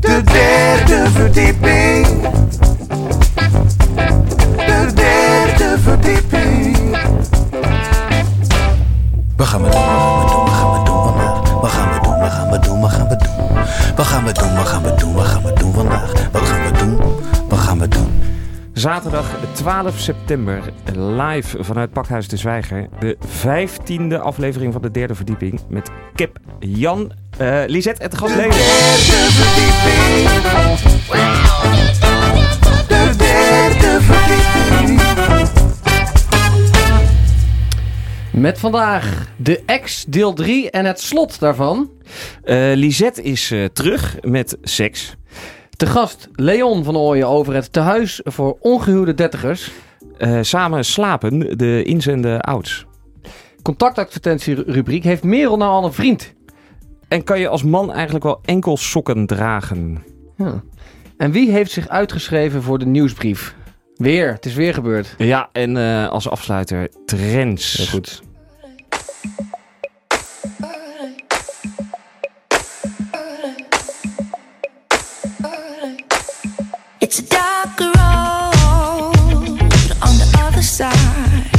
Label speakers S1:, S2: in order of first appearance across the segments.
S1: De derde verdieping. De derde verdieping. Wat gaan we doen? Wat gaan we doen? Wat gaan we doen? Wat gaan we doen? Wat gaan we doen? Wat gaan we doen? Wat gaan we doen? Wat gaan we doen? Wat gaan we doen vandaag? Wat gaan we doen? Wat gaan we doen?
S2: Zaterdag 12 september, live vanuit Pakhuis de Zwijger. De vijftiende aflevering van de derde verdieping met Kip, Jan, eh Lisette en de gastleden.
S1: derde verdieping. De derde verdieping.
S3: Met vandaag de ex deel 3 en het slot daarvan.
S2: Eh, Lisette is eh, terug met seks.
S3: Te gast Leon van Ooyen over het tehuis voor ongehuwde dertigers.
S2: Eh, samen slapen, de ins en de outs.
S3: Contactadvertentierubriek. Heeft Merel nou al een vriend?
S2: En kan je als man eigenlijk wel enkel sokken dragen?
S3: Ja. En wie heeft zich uitgeschreven voor de nieuwsbrief? Weer, het is weer gebeurd.
S2: Ja, en eh, als afsluiter trends.
S3: Heel goed.
S4: It's a dark road on the other side.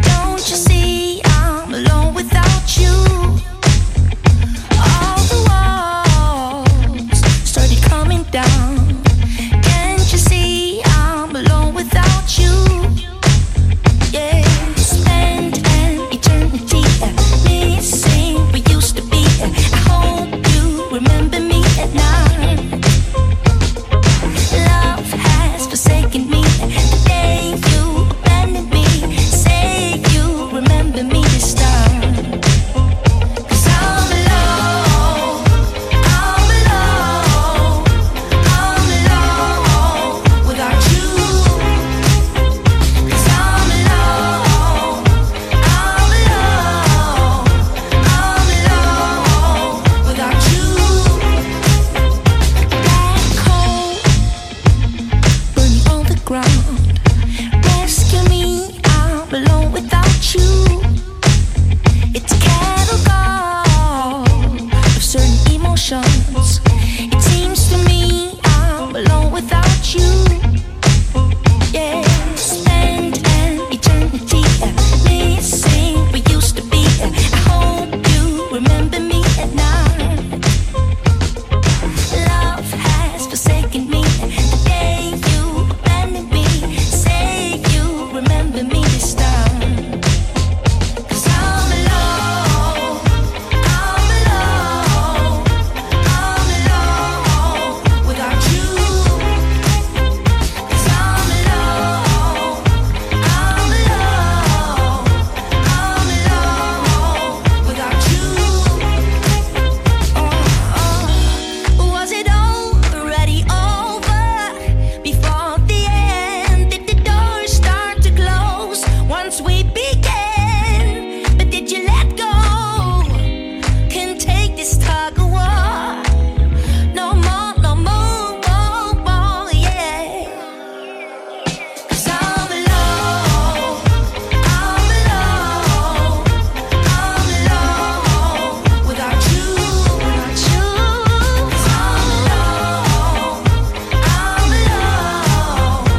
S4: Don't you see I'm alone without you? All the walls started coming down. Can't you see I'm alone without you? Yeah, spend an eternity missing we used to be. I hope you remember me at night. Love has forsaken me. The day you abandoned me, say you remember me this time. 'Cause I'm alone, I'm alone, I'm alone without you. 'Cause I'm alone, I'm alone, I'm alone without you. Back home burning on the ground. Rescue me, I'm alone without you. It's a cattle call of certain emotions. It seems to me I'm alone without you. Yeah, spend an eternity missing we used to be. I hope you remember me at night. Love has forsaken me. The day you abandoned me, say you remember me this time. 'Cause I'm alone, I'm alone, I'm alone without you. 'Cause I'm alone, I'm alone, I'm alone without you. Oh, oh. Was it already over before the end? Did the doors start to close once we began? But did you let go? Can take this tug of war. No more, no more, more, more, yeah. 'Cause I'm alone, I'm alone, I'm alone without you, without you. 'Cause I'm alone, I'm alone, I'm alone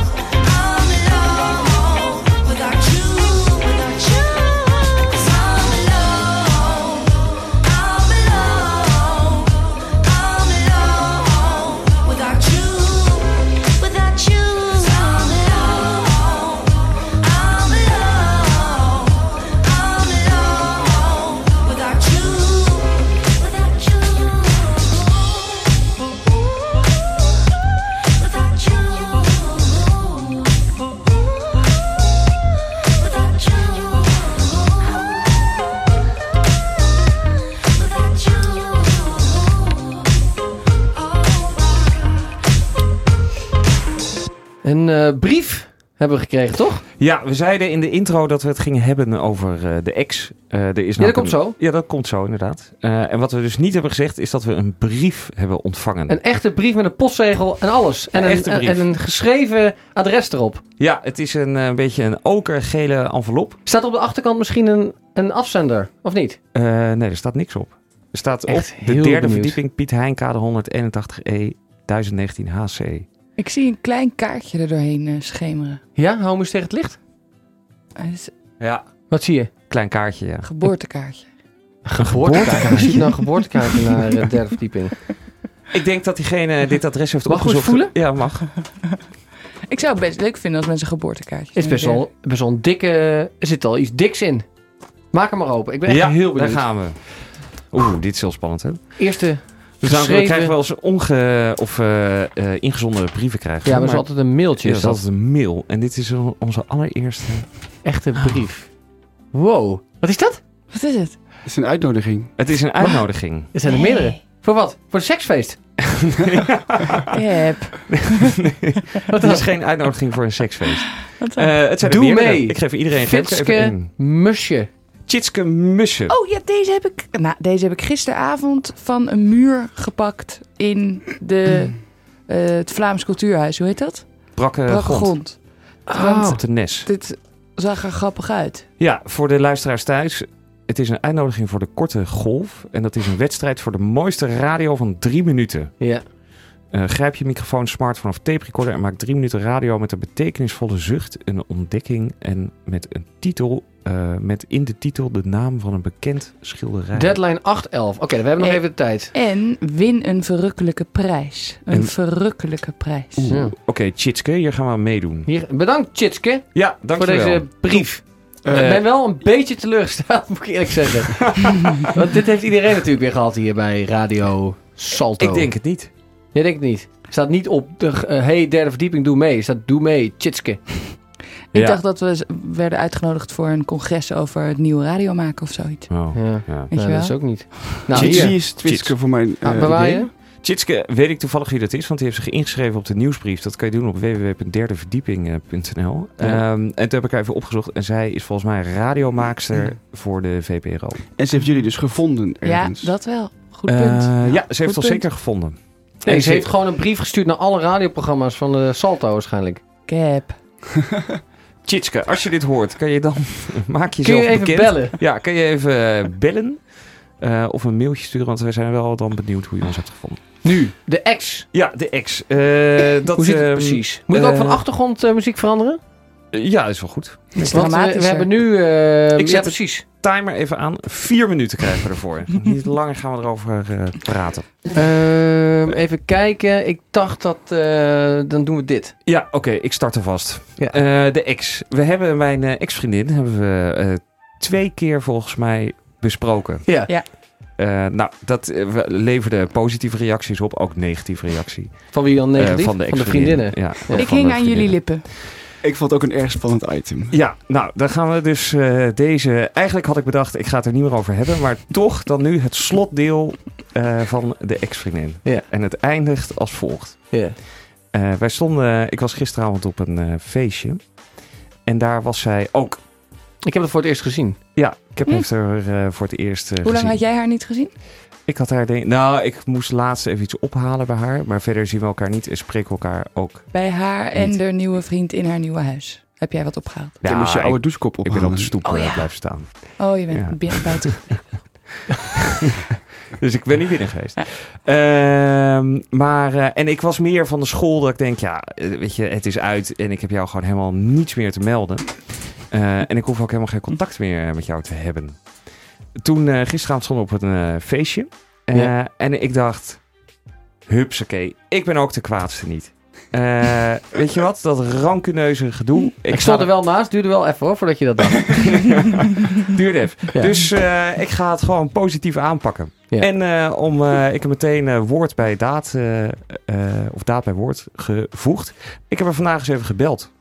S4: without you, without you. 'Cause I'm alone, I'm alone, I'm alone without you. Without you, I'm alone. I'm alone. I'm alone. Without you, without you, without you, without you. Oh. Oh,
S3: Een eh, brief Hebben we gekregen, toch?
S2: Ja, we zeiden in de intro dat we het gingen hebben over eh, de ex. Eh, er is
S3: Ja, dat
S2: namelijk
S3: komt
S2: een-
S3: zo.
S2: Ja, dat komt zo inderdaad. Eh, en wat we dus niet hebben gezegd is dat we een brief hebben ontvangen.
S3: Een echte brief met een postzegel en alles. En
S2: Een
S3: een,
S2: echte brief.
S3: en een geschreven adres erop.
S2: Ja, het is een eh, beetje een okergele envelop.
S3: Staat op de achterkant misschien een, een afzender, of niet?
S2: Eh, nee, er staat niks op. Er staat
S3: Echt
S2: op de
S3: heel
S2: derde
S3: benieuwd.
S2: verdieping Piet Heinkade 181E 1019 HC.
S5: Ik zie een klein kaartje er doorheen eh, schemeren.
S3: Ja, hou hem eens tegen het licht.
S5: Het is een
S2: Ja.
S3: Wat zie je?
S2: Klein kaartje, ja.
S5: geboortekaartje.
S3: Hoe ziet nou een geboortekaartje naar de eh, derde verdieping?
S2: Ik denk dat diegene dit adres heeft
S3: Mag ik eens
S2: opgezocht.
S3: voelen?
S2: Ja, mag.
S5: Ik zou het best leuk vinden als mensen geboortekaartjes
S3: Het is best wel, best wel een dikke... eh, Er zit al iets diks in. Maak hem maar open. Ik ben echt
S2: ja,
S3: heel benieuwd.
S2: Daar gaan we. Oeh, dit is heel spannend, hè?
S3: Eerste...
S2: Dus dan
S3: Geschreven-
S2: krijgen we wel eens onge- of, eh, eh, ingezonden brieven krijgen.
S3: Ja, maar het is altijd een mailtje.
S2: ja,
S3: is
S2: dat is
S3: dat.
S2: altijd een mail. En dit is on- onze allereerste.
S3: Echte
S2: Ah.
S3: brief. Wow. Wat is dat?
S5: Wat is het?
S6: Het is een uitnodiging.
S2: Het is een uitnodiging.
S3: Er zijn er
S5: Hey.
S3: meerdere. Voor wat? Voor het seksfeest.
S5: Yep.
S2: Het is geen uitnodiging voor een seksfeest.
S5: Wat dan?
S2: Eh, het zijn er
S3: Doe
S2: meerdere.
S3: mee.
S2: Ik geef iedereen een geef ik er even
S3: Fitske
S2: één.
S3: Musje.
S2: Tjitske Mussen.
S5: Oh ja, deze heb ik. Nou, deze heb ik gisteravond van een muur gepakt in de, eh, het Vlaams Cultuurhuis. Hoe heet dat?
S2: Brakke
S5: Brakke
S2: Eh, grond. Ah,
S5: grond. Want
S2: Op de Nes.
S5: dit zag er grappig uit.
S2: Ja, voor de luisteraars thuis. Het is een uitnodiging voor de korte golf. En dat is een wedstrijd voor de mooiste radio van drie minuten.
S3: Ja.
S2: Eh, grijp je microfoon, smartphone of tape recorder en maak drie minuten radio met een betekenisvolle zucht, een ontdekking en met een titel, eh, met in de titel de naam van een bekend schilderij.
S3: Deadline 811. Oké, we hebben nog
S5: Hey.
S3: even de tijd.
S5: En win een verrukkelijke prijs. Een
S2: En-
S5: verrukkelijke prijs.
S2: Oeh,
S3: Ja.
S2: Oké, Tjitske, hier gaan we aan meedoen.
S3: Hier, bedankt Chitske
S2: Ja,
S3: voor
S2: dankjewel.
S3: deze brief.
S6: Eh,
S3: ik ben wel een beetje teleurgesteld, moet ik eerlijk zeggen. Want dit heeft iedereen natuurlijk weer gehad hier bij Radio Salto.
S2: Ik denk het niet.
S3: Nee, denk het niet. Er staat niet op, de, eh, hey derde verdieping, doe mee. Er staat doe mee, Chitske.
S5: Ik
S2: Ja.
S5: dacht dat we z- werden uitgenodigd voor een congres over het nieuwe radio maken of zoiets.
S2: Oh,
S3: Ja,
S2: ja.
S5: Weet
S3: nou,
S5: je
S3: dat
S5: wel?
S3: is ook niet. Nou,
S6: Chitsi
S3: hier.
S6: is Twitske voor mijn
S3: Ah,
S6: eh,
S3: bewaar
S6: idee.
S3: je?
S2: Tjitske, weet ik toevallig wie dat is, want die heeft zich ingeschreven op de nieuwsbrief. Dat kan je doen op eh, www.derdeverdieping.nl.
S3: Ja.
S2: Ehm, en toen heb ik haar even opgezocht en zij is volgens mij een radiomaakster voor de VPRO.
S6: En ze heeft jullie dus gevonden ergens.
S5: Ja, dat wel. Goed punt.
S2: Eh, ja, ze heeft het al
S5: punt.
S2: zeker gevonden.
S3: Nee,
S2: En
S3: ze heeft gewoon een brief gestuurd naar alle radioprogramma's van eh, Salto waarschijnlijk.
S5: Cap.
S2: Tjitske, als je dit hoort, kan je dan maak
S3: Kun
S2: jezelf
S3: je even
S2: bekend.
S3: bellen?
S2: Ja, kan je even eh, bellen eh, of een mailtje sturen, want wij zijn wel dan benieuwd hoe je ons hebt gevonden.
S3: Nu, de ex.
S2: Ja, de ex. Eh, dat,
S3: Hoe zit het
S2: ehm,
S3: precies? Moet ik ook
S2: eh,
S3: van achtergrondmuziek veranderen?
S2: eh, Ja, dat is wel goed.
S5: Het is
S3: Want eh,
S5: dramatisch.
S3: we hebben nu... eh,
S2: Ik
S3: ja,
S2: zet-
S3: precies.
S2: Timer even aan. Vier minuten krijgen we ervoor. Niet langer gaan we erover eh, praten.
S3: Ehm, even kijken. Ik dacht dat... eh, dan doen we dit.
S2: Ja, oké, ik start alvast.
S3: Ja.
S2: Eh, de ex. We hebben mijn eh, ex-vriendin hebben we eh, twee keer volgens mij besproken.
S3: Ja.
S5: Ja.
S2: Eh, nou, dat eh, we- leverde positieve reacties op, ook negatieve reactie.
S3: Van wie dan negatief?
S2: Eh, van, de ex-vriendinnen.
S3: vriendinnen.
S2: Ja, van
S5: Ik
S2: de
S5: hing aan jullie
S2: vriendinnen.
S5: lippen.
S6: Ik vond het ook een erg spannend item.
S2: Ja, nou, dan gaan we dus eh, deze... Eigenlijk had ik bedacht, ik ga het er niet meer over hebben. Maar toch dan nu het slotdeel eh, van de ex-vriendin.
S3: Ja.
S2: En het eindigt als volgt.
S3: Ja.
S2: Eh, wij stonden... Ik was gisteravond op een eh, feestje. En daar was zij ook...
S3: Ik heb het voor het eerst gezien.
S2: Ja, ik heb
S5: Hm.
S2: haar eh, voor het eerst eh,
S5: Hoe lang
S2: gezien.
S5: had jij haar niet gezien?
S2: Ik had haar... denk- nou, ik moest laatst even iets ophalen bij haar. Maar verder zien we elkaar niet en spreken elkaar ook.
S5: Bij haar en
S2: Niet.
S5: haar nieuwe vriend in haar nieuwe huis. Heb jij wat opgehaald?
S6: Dan moest je
S2: ik-
S6: oude douchekop
S2: ik ben op
S6: ophalen.
S2: de stoep
S5: Oh,
S2: eh,
S5: ja.
S2: blijven staan.
S5: Oh, je bent
S2: Ja.
S5: binnen buiten.
S2: Dus ik ben niet binnen geweest. Ehm, maar, eh, en ik was meer van de school dat ik denk, ja, eh, weet je, het is uit en ik heb jou gewoon helemaal niets meer te melden. Eh, en ik hoef ook helemaal geen contact meer eh, met jou te hebben. Toen eh, gisteravond stonden we op een eh, feestje. Eh,
S3: Ja.
S2: En ik dacht, hupsakee, ik ben ook de kwaadste niet. Eh, weet je wat, dat rankeneuze gedoe.
S3: Ik,
S2: ga
S3: stond
S2: er-
S3: er wel naast. Duurde wel even hoor, voordat je dat dacht.
S2: Duurde even.
S3: Ja.
S2: Dus eh, ik ga het gewoon positief aanpakken.
S3: Ja.
S2: En eh, om, eh, ik heb meteen eh, woord bij daad, eh, eh, of daad bij woord gevoegd. Ik heb haar vandaag eens even gebeld.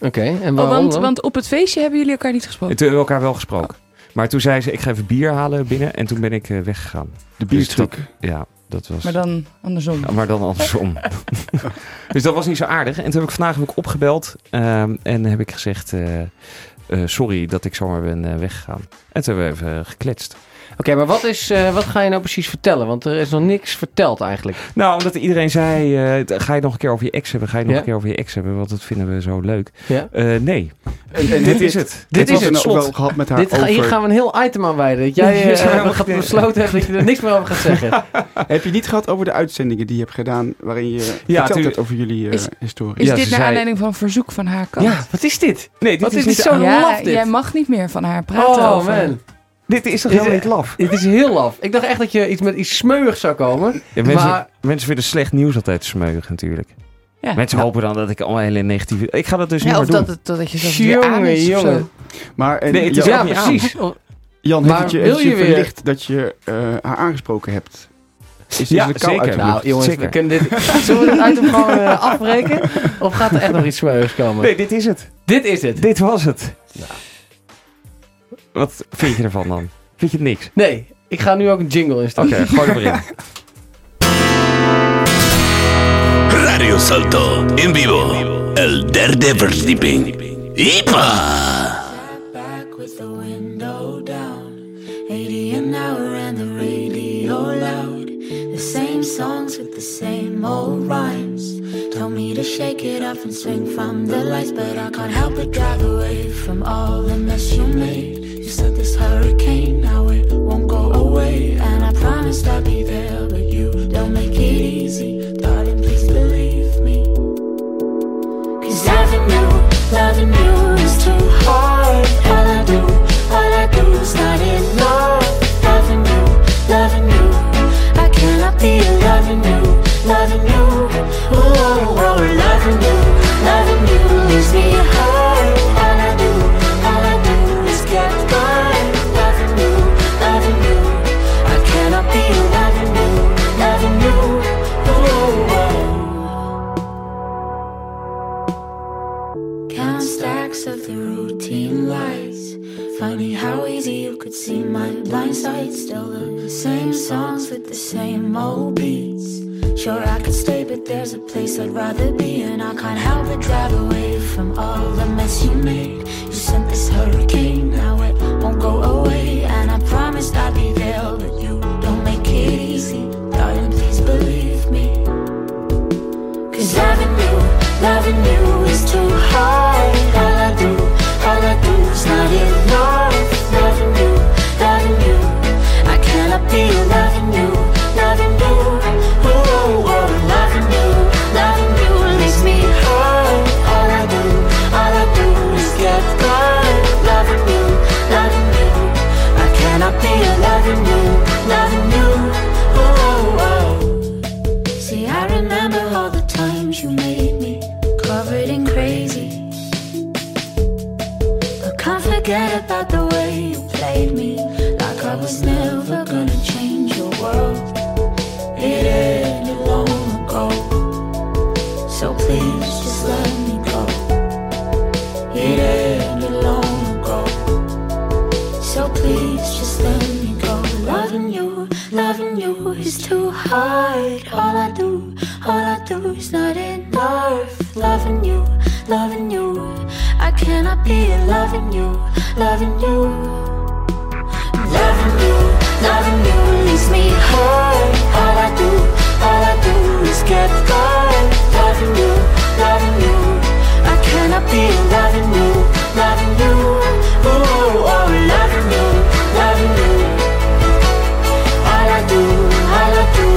S3: Oké, en
S5: Oh,
S3: waarom
S5: want,
S3: dan?
S5: want op het feestje hebben jullie elkaar niet
S2: En
S3: Oh.
S5: gesproken.
S2: toen hebben we elkaar wel gesproken. Maar toen zei ze, ik ga even bier halen binnen. En toen ben ik eh, weggegaan.
S6: De
S2: Dus dat-
S6: biertruc.
S2: Ja, Dat was...
S5: Maar dan andersom.
S2: Ja, maar dan andersom. dus dat was niet zo aardig. En toen heb ik vandaag ook opgebeld. ehm, en heb ik gezegd... eh, eh, sorry dat ik zomaar ben eh, weggegaan. En toen hebben we even eh, gekletst.
S3: Oké, maar wat, is, eh, wat ga je nou precies vertellen? Want er is nog niks verteld eigenlijk.
S2: Nou, omdat iedereen zei... eh, t- ga je het nog een keer over je ex hebben? Ga je het nog
S3: Ja.
S2: een keer over je ex hebben? Want dat vinden we zo leuk.
S3: Ja?
S2: Eh, nee.
S6: En, en
S2: Dit is het. Dit
S6: was
S2: is het
S6: er nou ook
S2: slot.
S6: wel gehad met haar
S3: Dit ga,
S6: over.
S3: hier gaan we een heel item aan wijden. Dat jij eh,
S2: Ja, maar
S3: gaat
S2: wat-
S3: besloten hebt dat je er niks meer over gaat zeggen.
S6: Heb je niet gehad over de uitzendingen die je hebt gedaan, waarin je verteld
S2: tuurlijk.
S6: hebt over jullie eh,
S5: Is-
S6: historie?
S5: Is
S2: Ja,
S5: dit
S2: ze
S5: naar
S2: zei-
S5: aanleiding van een verzoek van haar kant?
S3: Ja, wat is dit?
S2: Nee, dit
S3: Wat is
S2: niet
S3: dit zo
S5: Ja,
S3: laf dit?
S5: jij mag niet meer van haar praten
S3: Oh
S5: over.
S3: man,
S2: Dit is toch
S3: Is
S2: helemaal
S3: het-
S2: niet laf?
S3: dit is heel laf. Ik dacht echt dat je iets met iets smeuigs zou komen.
S2: Ja, mensen,
S3: Maar-
S2: mensen vinden slecht nieuws altijd smeuig natuurlijk.
S5: Ja.
S2: Mensen hopen dan dat ik allemaal hele negatieve... Ik ga dat dus niet
S5: Ja, of
S2: meer doen.
S5: dat, het- dat je zelfs weer aan
S3: Jongen,
S5: is of zo.
S3: jongen.
S6: Maar en,
S2: Nee, het is
S6: Jan,
S2: ook
S3: Ja,
S2: niet aan.
S3: precies.
S6: Jan,
S3: Maar
S6: heeft het je,
S3: wil
S6: heeft het je
S3: je weer-
S6: verlicht dat je eh, haar aangesproken hebt? Is dit
S2: Ja,
S6: de kou
S2: zeker.
S6: uitgelucht?
S3: Nou jongens,
S2: Zeker.
S3: we kunnen dit, zullen we dit item gewoon eh, afbreken? Of gaat er echt nog iets smeuigs komen?
S2: Nee, dit is het.
S3: Dit is het.
S2: Dit was het. Wat vind je ervan dan? Vind je het niks?
S3: Nee, ik ga nu ook een jingle
S2: Oké,
S3: instellen.
S2: gooi er maar in.
S7: Radio Salto, en vivo, el Daredevil Sleeping. ¡Ipa!
S8: back with the window down. 80 an hour and the radio loud. The same songs with the same old rhymes. Told me to shake it off and swing from the lights, but I can't help but drive away from all the mess you made. You said this hurricane, now it won't go away. And I promised I'd be there, but you don't make it easy. Darling, please believe me. Cause loving you, loving you is too hard. All I do, all I do is not enough. Loving you, loving you, I cannot be loving you, loving you. Oh, oh, oh, loving you, loving you leaves me hurt. All I do, all I do is get by. Loving you, loving you, I cannot be loving you, loving you. Oh, oh, oh. Count stacks of the routine lies. Funny how easy you could see my blind side. Still the same songs with the same old beats. Sure, I could stay, but there's a place I'd rather be. And I can't help but drive away from all the mess you made. You sent this hurricane, now it won't go away. And I promised I'd be there, but you don't make it easy. Darling, please believe me. Cause loving you, loving you is too hard. All I do, all I do is not enough. Loving you, loving you, I cannot be loving you, loving you. Oh, oh, oh. loving you, loving you leaves me hurt. All I do, all I do is get burned. Loving you, loving you, I cannot be loving you, loving you. Oh, oh, oh. See, I remember all the times you made me covered in crazy. I can't forget about the way you played me, like I was never gonna change your world. It ended long ago. So please just let me go. It ended long ago. So please just let me go. Loving you, loving you is too hard. All I do, all I do is not enough. Loving you, loving you, I cannot be loving you, loving you. Loving you, loving you leaves me hurt. All I do, all I do is get burned. Loving you, loving you, I cannot be loving you, loving you. Oh, oh, oh, loving you, loving you. All I do, all I do,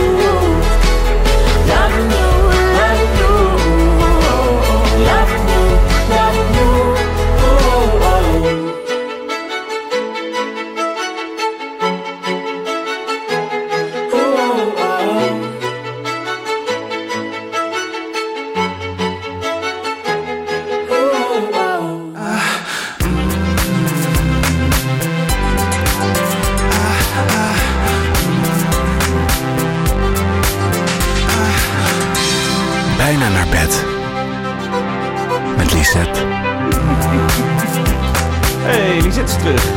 S8: loving you, loving you. Oh, oh, oh, loving you, loving you. Oh, oh, oh.
S7: Bijna naar bed. Met Lisette.
S2: Hé, hey, Lisette is terug.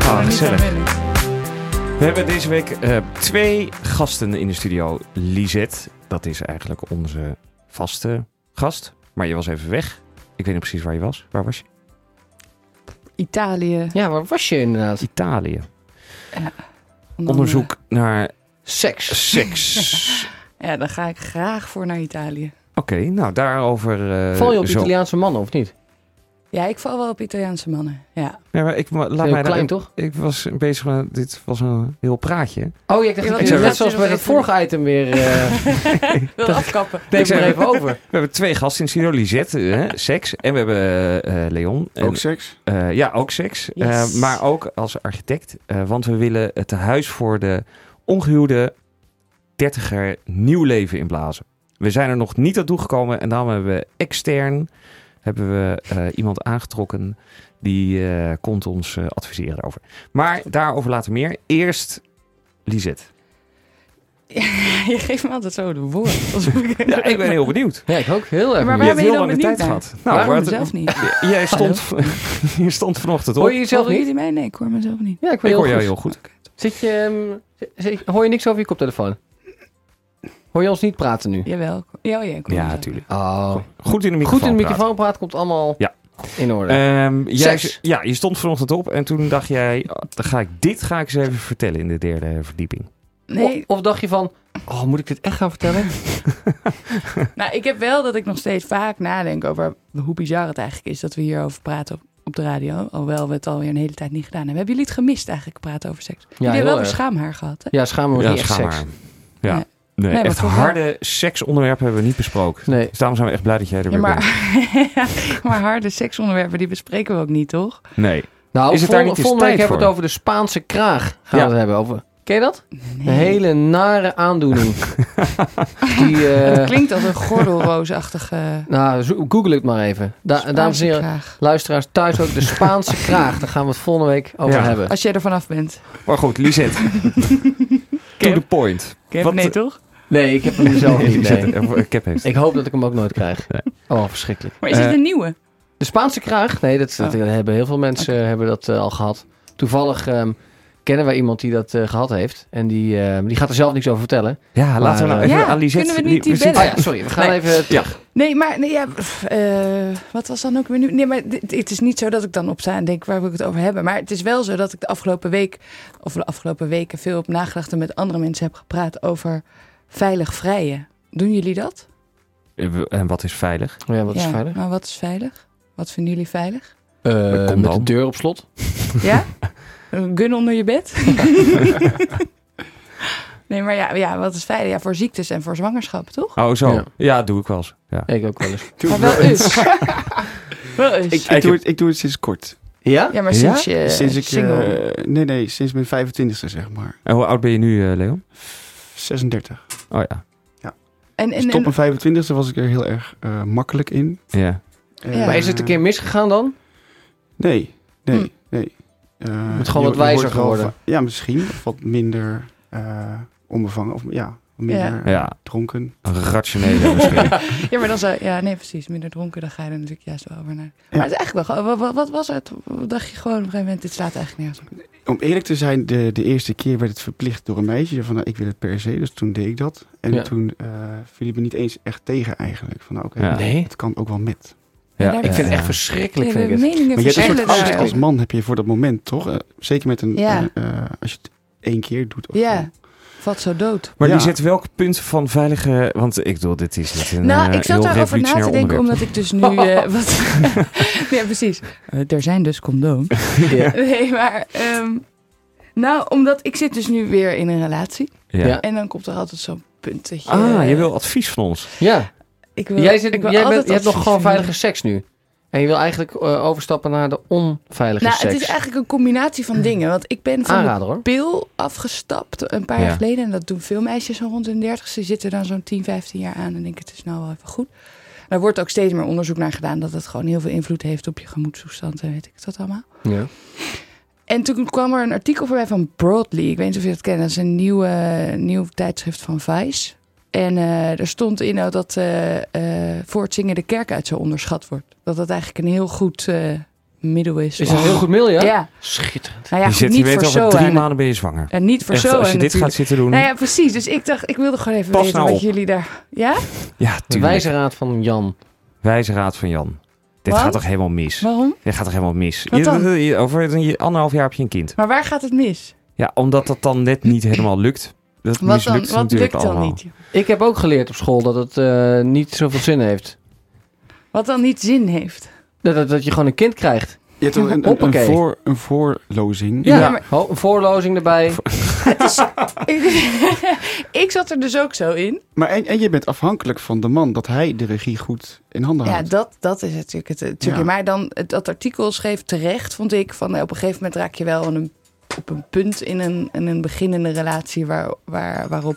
S2: Ah,
S5: Niet
S2: gezellig.
S5: aan willen.
S2: We hebben deze week eh, twee gasten in de studio. Lisette, dat is eigenlijk onze vaste gast. Maar je was even weg. Ik weet niet precies waar je was. Waar was je?
S5: Italië.
S3: Ja, waar was je inderdaad?
S2: Italië.
S5: En dan,
S2: Onderzoek naar
S3: Seks.
S2: seks.
S5: eh, ja, dan ga ik graag voor naar Italië.
S2: Oké, nou daarover. eh,
S3: Val je op
S2: zo.
S3: Italiaanse mannen of niet?
S5: Ja, ik val wel op Italiaanse mannen. Ja.
S2: Nee, maar ik, maar laat
S3: Heel
S2: mij daar-
S3: klein toch?
S2: Ik was bezig met. Dit was een heel praatje.
S3: Oh, ja, ik dacht,
S5: Ja,
S3: ik-
S5: dat-
S3: net
S5: dat-
S3: zoals bij
S5: dat-
S3: dat vorige item weer. eh
S5: Wil afkappen.
S3: neem ik
S2: zei-
S3: er even over.
S2: We hebben twee gasten in studio. Lisette, eh, seks. En we hebben eh, eh, Leon. En,
S6: Ook seks?
S2: eh, ja, ook seks.
S5: Yes.
S2: Eh, maar ook als architect. Eh, want we willen het huis voor de ongehuwde dertiger nieuw leven inblazen. We zijn er nog niet aan toegekomen. En daarom hebben we extern hebben we, eh, iemand aangetrokken. Die eh, komt ons eh, adviseren daarover. Maar daarover later meer. Eerst Lisette.
S5: Je geeft me altijd zo de woord. Alsof ik-
S2: Ja, ik ben heel benieuwd.
S3: Ja, ik ook. Heel erg.
S5: Maar
S2: Je
S5: waar
S2: hebt
S3: benieuwd.
S5: ben je
S2: heel
S5: dan
S2: lang de
S5: benieuwd
S2: tijd
S5: naar?
S2: gehad.
S5: Nou,
S2: waar-
S5: Waarom mezelf niet?
S2: Jij stond, je stond vanochtend op.
S3: Hoor je
S2: ik
S3: jezelf
S5: Horen
S3: niet?
S5: jullie mij? Nee, ik hoor mezelf niet.
S3: Ja, ik,
S2: hoor
S3: hoor
S2: jou
S3: goed.
S2: heel goed.
S3: Zit je, ehm, zi- zi- hoor je niks over je koptelefoon? Hoor je ons niet praten nu?
S5: Jawel. ik- Ja, oh ja, ik hoor
S2: Ja,
S5: mezelf.
S2: natuurlijk.
S3: Oh.
S2: Goed in de microfoon.
S3: Goed in
S2: praten.
S3: de microfoon praten komt allemaal
S2: Ja.
S3: in orde.
S2: Ehm, jij,
S3: Seks.
S2: ja, je stond vanochtend op en toen dacht jij, oh, dan ga ik, dit ga ik eens even vertellen in de derde verdieping.
S5: Nee,
S3: Of, of dacht je van, oh, moet ik dit echt gaan vertellen? Oh.
S5: nou, ik heb wel dat ik nog steeds vaak nadenk over hoe bizar het eigenlijk is dat we hierover praten op, op de radio. Alhoewel we het alweer een hele tijd niet gedaan hebben. Hebben jullie het gemist eigenlijk, praten over seks? jullie hebben wel
S3: erg.
S5: een schaamhaar gehad, hè?
S3: Ja, schamen we
S2: ja,
S3: niet Oh, echt
S2: schaam
S3: seks.
S2: maar. Ja.
S5: Nee.
S2: Nee,
S5: Nee,
S2: echt
S5: maar voor-
S2: harde seksonderwerpen hebben we niet besproken.
S3: Nee.
S2: Dus daarom zijn we echt blij dat jij er
S5: Ja,
S2: weer
S5: maar, maar harde seksonderwerpen, die bespreken we ook niet, toch?
S2: bent. Nee. Is
S3: Nou,
S2: het
S3: vol-
S2: daar niet eens
S3: volgende week
S2: tijd
S3: hebben we het
S2: voor?
S3: over de Spaanse kraag. Gaan
S2: Ja.
S3: we het hebben over. Ken je dat?
S5: Nee.
S3: Een hele nare aandoening. Die, eh,
S5: Het klinkt als een gordelroosachtige...
S3: nou, zo- google het maar even. Da- dames en heren,
S5: vraag.
S3: luisteraars thuis ook. De Spaanse kraag. Daar gaan we het volgende week over
S2: Ja.
S3: hebben.
S5: Als jij er vanaf bent.
S2: Maar goed, Lisette. to the point. Wat-
S5: nee, toch?
S3: Nee, ik heb hem zelf
S2: Nee,
S3: niet.
S2: Lisette,
S3: Oh, nee.
S2: eh, Cap heeft.
S3: Ik hoop dat ik hem ook nooit krijg.
S2: Nee.
S3: Oh, verschrikkelijk.
S5: Maar is dit
S2: Eh,
S5: een nieuwe?
S3: De Spaanse kraag? Nee, dat,
S5: Ah.
S3: dat hebben heel veel mensen eh, hebben dat eh, al gehad. Toevallig ehm, kennen wij iemand die dat eh, gehad heeft. En die, ehm, die gaat er zelf niks over vertellen.
S2: Ja, laten we
S3: Maar,
S2: nou
S3: eh,
S2: even
S5: Ja,
S2: aan Lisette...
S5: kunnen we niet die
S2: we zitten-
S5: bellen?
S3: Oh ja, sorry. We gaan
S5: Nee.
S3: even
S2: Ja.
S5: Nee, maar nee, ja, pff, eh, wat was dan ook weer nu? Nee, maar dit- het is niet zo dat ik dan opsta en denk waar wil ik het over hebben. Maar het is wel zo dat ik de afgelopen week of de afgelopen weken veel op nagedacht en met andere mensen heb gepraat over veilig vrijen. Doen jullie dat?
S2: Eh, En wat is veilig?
S3: Oh ja, wat is
S5: Ja,
S3: veilig?
S5: Nou, wat is veilig? Wat vinden jullie veilig?
S3: Eh,
S2: Een
S3: met de
S2: condoom.
S3: deur op slot.
S5: Ja? Een gun onder je bed? nee, maar ja, ja, wat is veilig? Ja, voor ziektes en voor zwangerschap, toch?
S2: Oh, zo.
S3: Ja.
S2: Ja, doe ik wel eens. Ja.
S3: Ik ook wel eens.
S6: Doe
S5: Maar
S6: het
S5: wel eens. wel eens.
S6: Ik, ik, doe het, ik doe het sinds kort.
S3: Ja?
S5: Ja, maar sinds je
S6: sinds ik...
S5: single...
S6: eh, nee, nee, sinds mijn 25e zeg maar.
S2: En hoe oud ben je nu, eh, Leon?
S6: 36.
S2: Oh ja.
S5: en,
S6: Dus
S5: en, en,
S6: tot mijn 25e was ik er heel erg eh, makkelijk in. Eh,
S2: Ja.
S5: Ja.
S3: Maar is het een keer misgegaan dan?
S6: Nee, nee,
S5: Hm.
S6: nee.
S3: Moet
S6: Eh,
S3: gewoon
S6: je-
S3: wat
S6: je wordt
S3: wijzer
S6: wel
S3: geworden.
S6: va- Ja, misschien. Of Wat minder eh, onbevangen. Of ja, wat minder
S5: Ja.
S6: eh,
S2: Ja,
S6: dronken.
S2: een rationele misschien.
S5: Ja, maar dan zou... Ja, nee, precies. Minder dronken, dan ga je er natuurlijk juist wel over naar.
S6: Ja.
S5: Maar het is eigenlijk wel... gewoon- Wat, wat was het? Dacht je gewoon op een gegeven moment, dit slaat eigenlijk nergens op.
S6: Om eerlijk te zijn, de, de eerste keer werd het verplicht door een meisje. Van nou, ik wil het per se. Dus toen deed ik dat. En
S3: Ja.
S6: toen eh viel het me niet eens echt tegen eigenlijk. Van nou, oké,
S2: Ja.
S3: Nee.
S6: het kan ook wel met.
S5: Ja,
S3: Ik vind het echt
S2: ja.
S3: verschrikkelijk.
S5: Ja,
S3: Vind
S5: de
S3: ik het.
S5: meningen
S6: Maar je hebt een soort
S5: verschillen
S6: angst
S5: daar.
S6: als man heb je voor dat moment, toch? Eh, zeker met een...
S5: Ja.
S6: eh, eh, als je het één keer doet. Of zo.
S5: Ja, valt zo dood.
S2: Maar
S6: Ja.
S2: die zet welk punt van veilige... Want ik bedoel, dit is niet een
S5: nou,
S2: eh,
S5: ik zat
S2: heel
S5: daarover na
S2: revolutionair
S5: te denken, omdat
S2: onderwerp.
S5: ik dus nu... eh, wat, ja, precies. Eh, er zijn dus condooms.
S3: Ja.
S5: Nee, maar... ehm, nou, omdat ik zit dus nu weer in een relatie.
S2: Ja.
S3: Ja.
S5: En dan komt er altijd zo'n punt dat je...
S2: Ah, je wil advies van ons.
S3: Ja.
S5: Ik wil,
S3: Jij, zit,
S5: ik wil
S3: jij
S5: altijd
S3: bent, je hebt nog
S5: advies
S3: gewoon
S5: van jullie.
S3: veilige seks nu. En je wil eigenlijk eh, overstappen naar de onveilige
S5: Nou,
S3: seks.
S5: het is eigenlijk een combinatie van dingen. Want ik ben van de
S3: Aanrader hoor.
S5: pil afgestapt een paar jaar
S2: Ja.
S5: geleden. En dat doen veel meisjes zo rond hun dertigste. Die zitten dan zo'n 10, 15 jaar aan en denken het is nou wel even goed. En er wordt ook steeds meer onderzoek naar gedaan dat het gewoon heel veel invloed heeft op je gemoedstoestand en weet ik dat allemaal.
S3: Ja.
S5: En toen kwam er een artikel voorbij van Broadly. Ik weet niet of je dat kent. Dat is een nieuw, eh, nieuw tijdschrift van Vice. En eh, er stond in ook dat eh eh, voor het zingen de kerk uit zo onderschat wordt. Dat dat eigenlijk een heel goed eh, middel is.
S3: Is dat een heel goed mail, ja?
S5: Ja.
S3: Schitterend.
S5: Nou ja,
S2: je
S5: goed,
S2: zit, je
S5: niet voor
S2: weet
S5: zo
S2: over drie
S5: aan.
S2: maanden ben je zwanger.
S5: En niet voor
S2: Echt,
S5: zo
S2: als je
S5: aan
S2: dit gaat
S5: natuurlijk.
S2: zitten doen.
S5: Nou ja, precies. Dus ik dacht, ik wilde gewoon even
S2: Pas
S5: weten
S2: nou
S5: wat
S2: op.
S5: jullie daar... Ja?
S2: ja,
S3: De
S2: tuurlijk.
S3: wijze raad van Jan.
S2: Wijze raad van Jan. Dit
S5: Wat?
S2: gaat toch helemaal mis?
S5: Waarom?
S2: Dit gaat toch helemaal mis?
S5: Wat dan?
S2: Je- je- over een anderhalf jaar heb je een kind.
S5: Maar waar gaat het mis?
S2: Ja, omdat dat dan net niet helemaal lukt. Dat
S5: Wat, dan,
S2: mislukt
S5: wat
S2: natuurlijk
S5: lukt dan
S2: allemaal.
S5: niet?
S3: Ik heb ook geleerd op school dat het eh, niet zoveel zin heeft.
S5: Wat dan niet zin heeft?
S3: Dat, dat, dat je gewoon een kind krijgt.
S6: Je hebt toch een, een, een,
S3: Hoppakee.
S6: voor, een voorlozing.
S3: Ja,
S5: Ja, maar-
S3: Ho- een voorlozing erbij.
S5: ik zat er dus ook zo in.
S6: Maar en, en je bent afhankelijk van de man dat hij de regie goed in
S2: Nou
S6: handen
S5: Ja,
S6: houdt.
S5: dat, dat is natuurlijk het. het trucje.
S6: Ja.
S5: Maar dan het- dat artikel schreef terecht, vond ik. Van, eh, op een gegeven moment raak je wel aan een, op een punt in een, in een beginnende relatie waar, waar, waarop.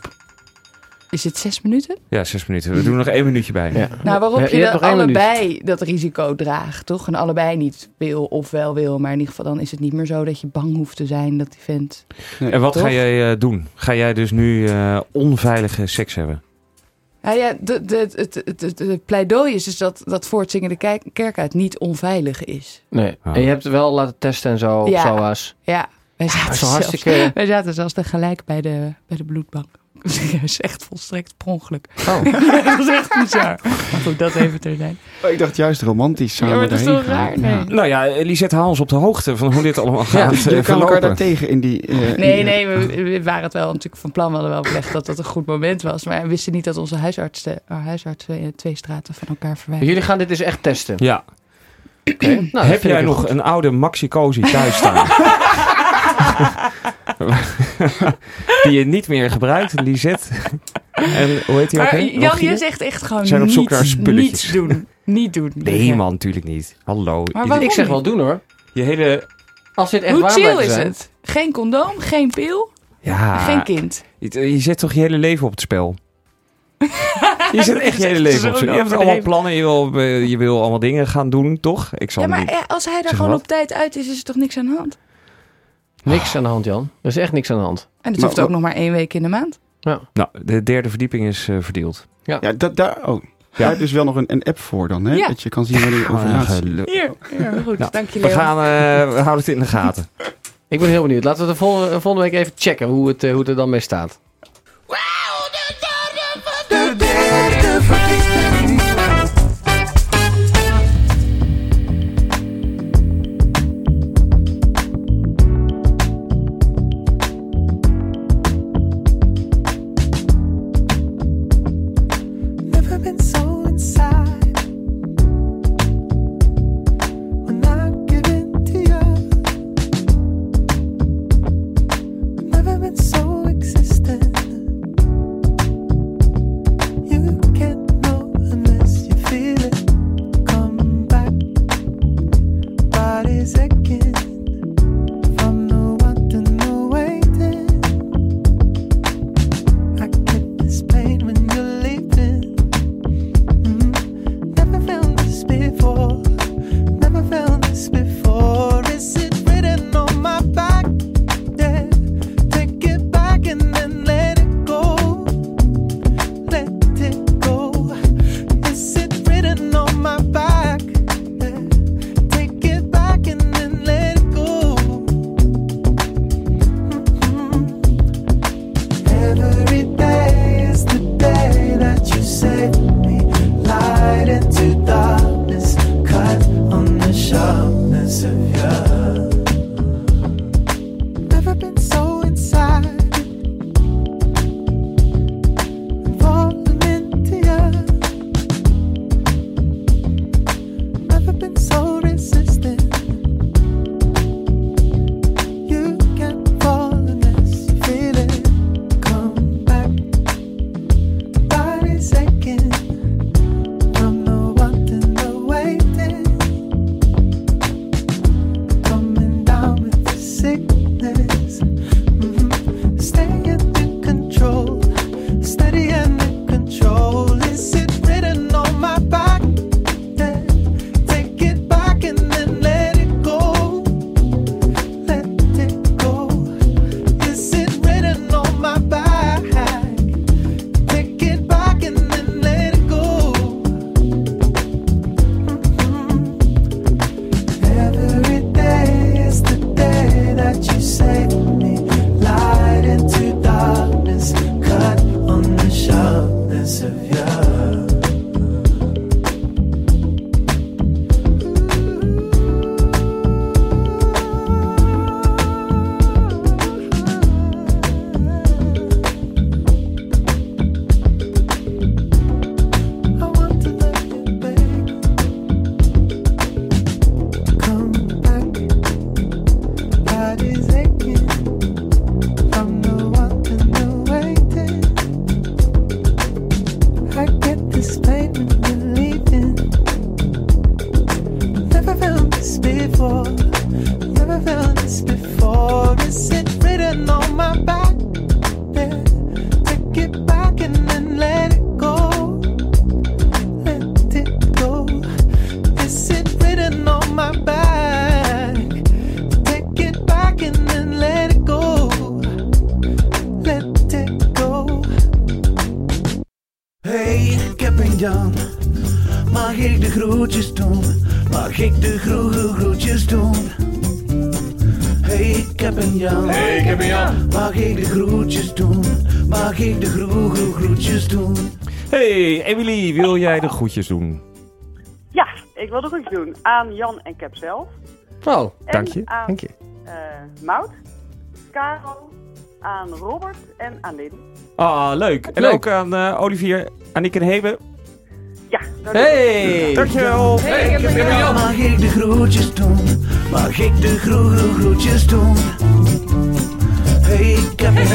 S5: Is het zes minuten?
S2: Ja, zes minuten. We doen er nog één minuutje bij.
S3: Ja.
S5: Nou,
S3: Ja,
S5: waarop je,
S3: hebt
S5: dat
S3: nog één minuut.
S5: allebei dat risico draagt, toch? En allebei niet wil of wel wil. Maar in ieder geval dan is het niet meer zo dat je bang hoeft te zijn dat die vent...
S2: En wat
S5: Toch?
S2: ga jij eh, doen? Ga jij dus nu eh, onveilige seks hebben?
S5: Ja, Nou ja de, de, het, het, het, het- het pleidooi is dus dat, dat voortzingende kijk- kerk uit niet onveilig is.
S3: Nee.
S2: Oh.
S3: En je hebt het wel laten testen en zo.
S5: Ja.
S3: Ja. Op SOA's.
S5: Ja, wij
S3: Dat
S5: zaten
S3: Ah, is wel
S5: zelfs-
S3: hartstikke...
S5: Wij zaten zelfs tegelijk bij de, bij de bloedbank. Serieus, echt volstrekt per ongeluk.
S3: Oh.
S5: dat is echt bizar. Maar goed, dat even terzijde.
S6: Maar Oh, ik dacht juist romantisch
S5: Ja,
S6: samen
S5: maar dat is
S6: daarheen
S5: toch
S6: gaan.
S5: raar? Nee.
S6: Ja. dus
S2: Nou ja, eh, Lisette, haal ons op de hoogte van hoe dit allemaal gaat eh,
S6: Je kan elkaar
S2: verlopen.
S6: daar tegen in die... eh, in
S5: Nee,
S6: die-
S5: nee, we, we waren het wel natuurlijk van plan. We hadden wel belegd dat dat een goed moment was. Maar we wisten niet dat onze huisartsen, eh, huisartsen eh, twee straten van elkaar verwijderd
S3: Jullie gaan dit dus echt testen.
S2: Ja.
S3: Nou, dat
S2: Heb
S3: vind
S2: jij
S3: ik
S2: nog
S3: goed.
S2: een oude Maxi Cosi thuis staan? die je niet meer gebruikt, Lisette. En hoe heet die
S5: Maar
S2: ook? hè?
S5: Jan,
S2: Rogier?
S5: je zegt echt gewoon
S2: Zijn op zoek naar
S5: niets,
S2: spulletjes.
S5: niets doen. Niet doen.
S2: Nee man, natuurlijk niet. Hallo.
S5: Maar waarom?
S3: Ik zeg wel doen hoor.
S2: Je hele...
S3: Als dit echt
S5: Hoe
S3: waar
S5: chill
S3: blijkt te
S5: is
S3: zijn.
S5: het? Geen condoom, geen pil,
S2: Ja.
S5: geen kind.
S2: Je, je zet toch je hele leven op het spel? Je zet echt je hele
S5: Zo
S2: leven op het spel. Je hebt allemaal
S5: overdreven.
S2: plannen, je wil, eh, je wil allemaal dingen gaan doen, toch? Ik zal
S5: Ja, maar
S2: niet...
S5: eh, als hij daar
S2: Zeg
S5: gewoon
S2: wat?
S5: op tijd uit is, is er toch niks aan de hand?
S3: Niks aan de hand Jan. Er is echt niks aan de hand.
S5: En het
S6: Maar-
S5: hoeft ook nog maar één week in de maand.
S2: Nou, de derde verdieping is eh, verdeeld.
S6: Ja, dat, daar, oh. Daar heb je dus wel nog een, een app voor dan, hè?
S5: Ja.
S6: Dat je kan zien wanneer je over
S2: Ah,
S6: laatst...
S2: geluk.
S5: Hier, goed.
S2: Nou,
S5: Dank je,
S2: We
S5: Leo.
S2: gaan, eh, we houden het in de gaten.
S3: Ik ben heel benieuwd. Laten we de volgende, volgende week even checken hoe het, eh, hoe het er dan mee staat.
S9: Never been so inside. When I give in to you. Never been so existent. Mm-hmm. Mm-hmm. Mm-hmm. before. Never felt this before. Is it written on my back? Yeah. Take it back and then let it go. Let it go. Is it written on my back? Take it back and then let it go. Let it go.
S10: Hey, Captain Jan. Mag ik de groetjes doen? Mag ik de groege groetjes doen? Hey, Captain Jan. Hey, Captain Jan. Mag ik de groetjes doen? Mag ik de groege groetjes doen?
S2: Hey, Emily, wil jij de groetjes doen?
S11: Ja, ik wil de groetjes doen aan Jan en Cap zelf.
S3: Oh,
S11: En
S2: Dank je.
S11: aan
S3: dank je.
S11: eh, Maud, Karel, aan Robert en aan Lin.
S2: Ah, leuk. En
S3: Leuk.
S2: ook aan eh, Olivier, Aniek en Hebe.
S11: Ja, dat is het.
S3: Hey!
S2: Dankjewel.
S10: Mag ik de groetjes doen? Mag ik de groege groetjes doen? Hey, Captain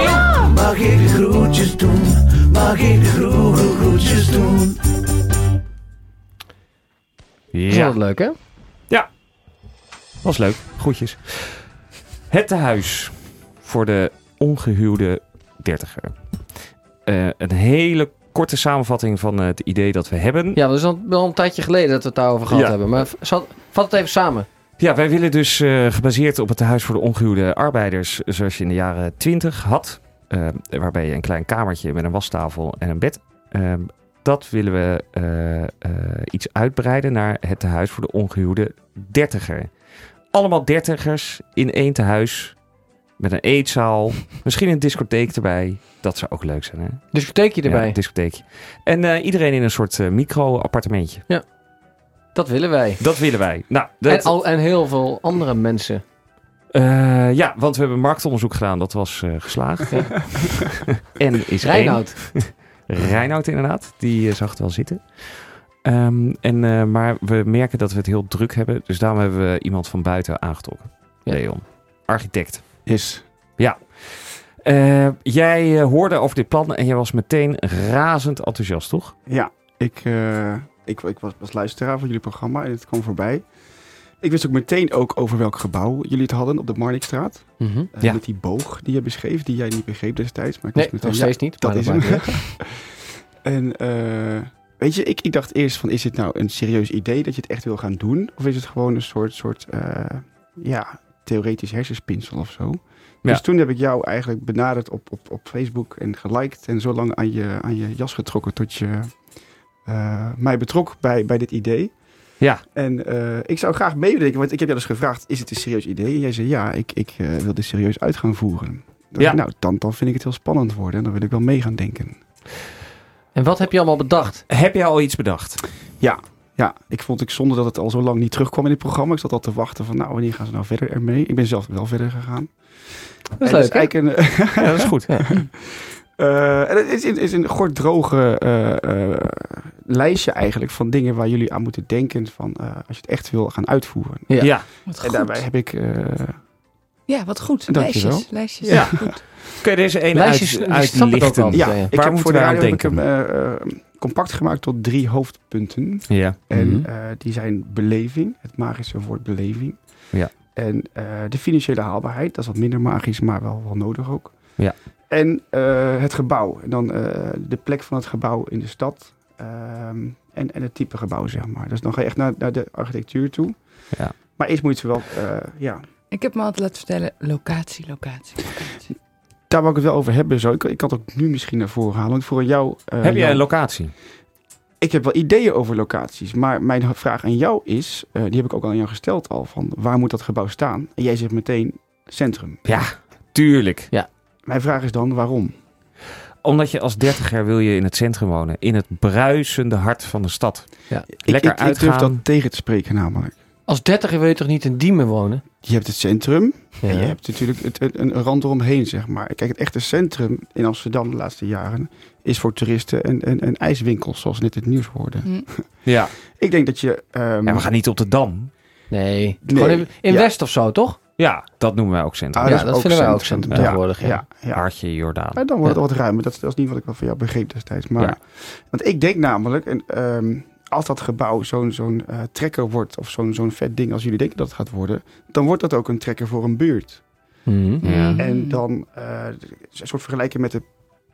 S10: Jan. Mag ik de groetjes doen? Mag ik de groege groetjes doen?
S3: Is
S2: Ja,
S3: dat leuk, hè?
S2: ja. Was leuk. Groetjes. Het tehuis voor de ongehuwde dertiger. Eh, een hele korte samenvatting van eh, het idee dat we hebben.
S3: Ja, dat is dan wel een tijdje geleden dat we het daarover gehad
S2: Ja.
S3: hebben. Maar v- zal- vat het even samen.
S2: Ja, wij willen dus eh, gebaseerd op het Huis voor de Ongehuwde Arbeiders, zoals je in de jaren 20 had, eh, waarbij je een klein kamertje met een wastafel en een bed, eh, dat willen we eh, eh, iets uitbreiden naar het Huis voor de Ongehuwde Dertiger. Allemaal dertigers in één tehuis, met een eetzaal, misschien een discotheek erbij. Dat zou ook leuk zijn, hè?
S3: Dus verteek je erbij.
S2: Ja, discotheek. En eh, iedereen in een soort eh, micro-appartementje.
S3: dat willen wij.
S2: Dat willen wij. Nou, dat...
S3: En, al, en heel veel andere mensen.
S2: Eh, ja, want we hebben marktonderzoek gedaan. Dat was eh, geslaagd. en is Reinoud.
S3: Reinoud.
S2: Reinoud inderdaad. Die eh, zag het wel zitten. Ehm, en, eh, maar we merken dat we het heel druk hebben. Dus daarom hebben we iemand van buiten aangetrokken.
S3: Ja.
S2: Leon. Architect.
S6: Is.
S2: Eh, jij eh, hoorde over dit plan en jij was meteen razend enthousiast, toch?
S6: Ja, ik, eh, ik, ik was, was luisteraar van jullie programma en het kwam voorbij. Ik wist ook meteen ook over welk gebouw jullie het hadden op de Marnixstraat.
S3: Mhm.
S6: Eh,
S2: Ja.
S6: Met die boog die jij beschreef, die jij niet begreep destijds. Maar ik
S3: Nee,
S6: wist meteen,
S3: nog
S6: ja,
S3: steeds niet.
S6: dat
S3: maar
S6: is
S3: maakt niet
S6: hem.
S3: uit.
S6: En eh, weet je, ik, ik dacht eerst van is dit nou een serieus idee dat je het echt wil gaan doen? Of is het gewoon een soort, soort eh, ja, theoretisch hersenspinsel of zo? Dus
S2: Ja.
S6: toen heb ik jou eigenlijk benaderd op, op, op Facebook en geliked en zo lang aan je, aan je jas getrokken tot je eh, mij betrok bij, bij dit idee.
S2: Ja.
S6: En eh, ik zou graag meedenken, want ik heb jou dus gevraagd, is het een serieus idee? En jij zei ja, ik, ik eh, wil dit serieus uit gaan voeren. Dan
S2: Ja.
S6: dacht ik, Nou, dan, dan vind ik het heel spannend worden en dan wil ik wel mee gaan denken.
S3: En wat heb je allemaal bedacht?
S2: Heb jij al iets bedacht?
S6: Ja, ik vond ik zonde dat het al zo lang niet terugkwam in dit programma. Ik zat al te wachten van, nou, wanneer gaan ze nou verder ermee? Ik ben zelf wel verder gegaan.
S3: Dat is
S6: En het
S3: leuk, hè?
S6: eigenlijk een,
S2: Ja, dat is goed.
S6: eh, en het is, een- is een gordroge eh, eh, lijstje eigenlijk van dingen waar jullie aan moeten denken van eh, als je het echt wil gaan uitvoeren.
S3: Ja.
S2: ja.
S5: Wat
S6: En
S5: goed.
S6: daarbij heb ik... eh,
S5: Ja, wat goed.
S6: Dankjewel.
S5: Lijstjes. Lijstjes.
S2: Ja.
S5: Goed.
S2: Kun je deze ene
S3: Lijstjes,
S2: uit,
S3: ik snap het ook
S2: uitlichten?
S3: al.
S2: Ja.
S6: ja,
S3: meteen.
S6: ik
S2: Waar
S6: heb
S2: moeten
S6: voor
S2: we
S6: de
S2: aan
S6: radio heb ik hem
S2: denken?
S6: eh, eh, compact gemaakt tot drie hoofdpunten.
S2: ja.
S6: En
S3: Mhm.
S6: eh, die zijn beleving, het magische woord beleving.
S2: Ja.
S6: En eh, de financiële haalbaarheid, dat is wat minder magisch, maar wel, wel nodig ook.
S2: Ja.
S6: En eh, het gebouw, en dan eh, de plek van het gebouw in de stad. ehm, en, en het type gebouw, zeg maar. Dus dan ga je echt naar, naar de architectuur toe.
S2: Ja.
S6: Maar eerst moet je wel, eh, ja,
S5: Ik heb me altijd laten vertellen, locatie, locatie, locatie.
S6: daar wil ik het wel over hebben. Zo. Ik, ik kan het ook nu misschien naar voren halen. Want voor jou... eh,
S2: Heb jij
S6: Jan-
S2: een locatie?
S6: ik heb wel ideeën over locaties, maar mijn vraag aan jou is, eh, die heb ik ook al aan jou gesteld al, van waar moet dat gebouw staan? En jij zegt meteen centrum.
S2: Tuurlijk.
S6: Mijn vraag is dan waarom?
S2: Omdat je als dertiger wil je in het centrum wonen. In het bruisende hart van de stad.
S6: Ik,
S2: Lekker
S6: ik, ik durf
S2: uitgaan.
S6: dat tegen te spreken namelijk.
S3: Als dertiger wil je toch niet in Diemen wonen?
S6: Je hebt het centrum
S3: Ja.
S6: en je hebt natuurlijk het, het- een rand eromheen, zeg maar. Kijk, het echte centrum in Amsterdam de laatste jaren is voor toeristen en, en, en ijswinkels, zoals we net in het nieuws hoorden.
S5: Mm,
S2: Ja.
S6: Ik denk dat je... ehm,
S2: En we gaan niet op de Dam.
S3: Nee. Gewoon in, in
S6: Ja.
S3: West of zo, toch?
S2: Ja, dat noemen wij ook centrum.
S6: ah,
S3: Ja, dat vinden wij ook centrum tegenwoordig,
S6: Ja,
S3: ja.
S6: ja, ja.
S2: Hartje Jordaan.
S6: Maar dan wordt het wat ruimer. Dat, dat is niet wat ik wel van jou begreep destijds. Maar,
S2: Ja.
S6: Want ik denk namelijk, en, ehm, als dat gebouw zo'n zo'n eh, trekker wordt of zo'n zo'n vet ding als jullie denken dat het gaat worden, dan wordt dat ook een trekker voor een buurt. Mhm.
S2: Ja.
S5: Mm.
S6: En dan eh, een soort vergelijken met de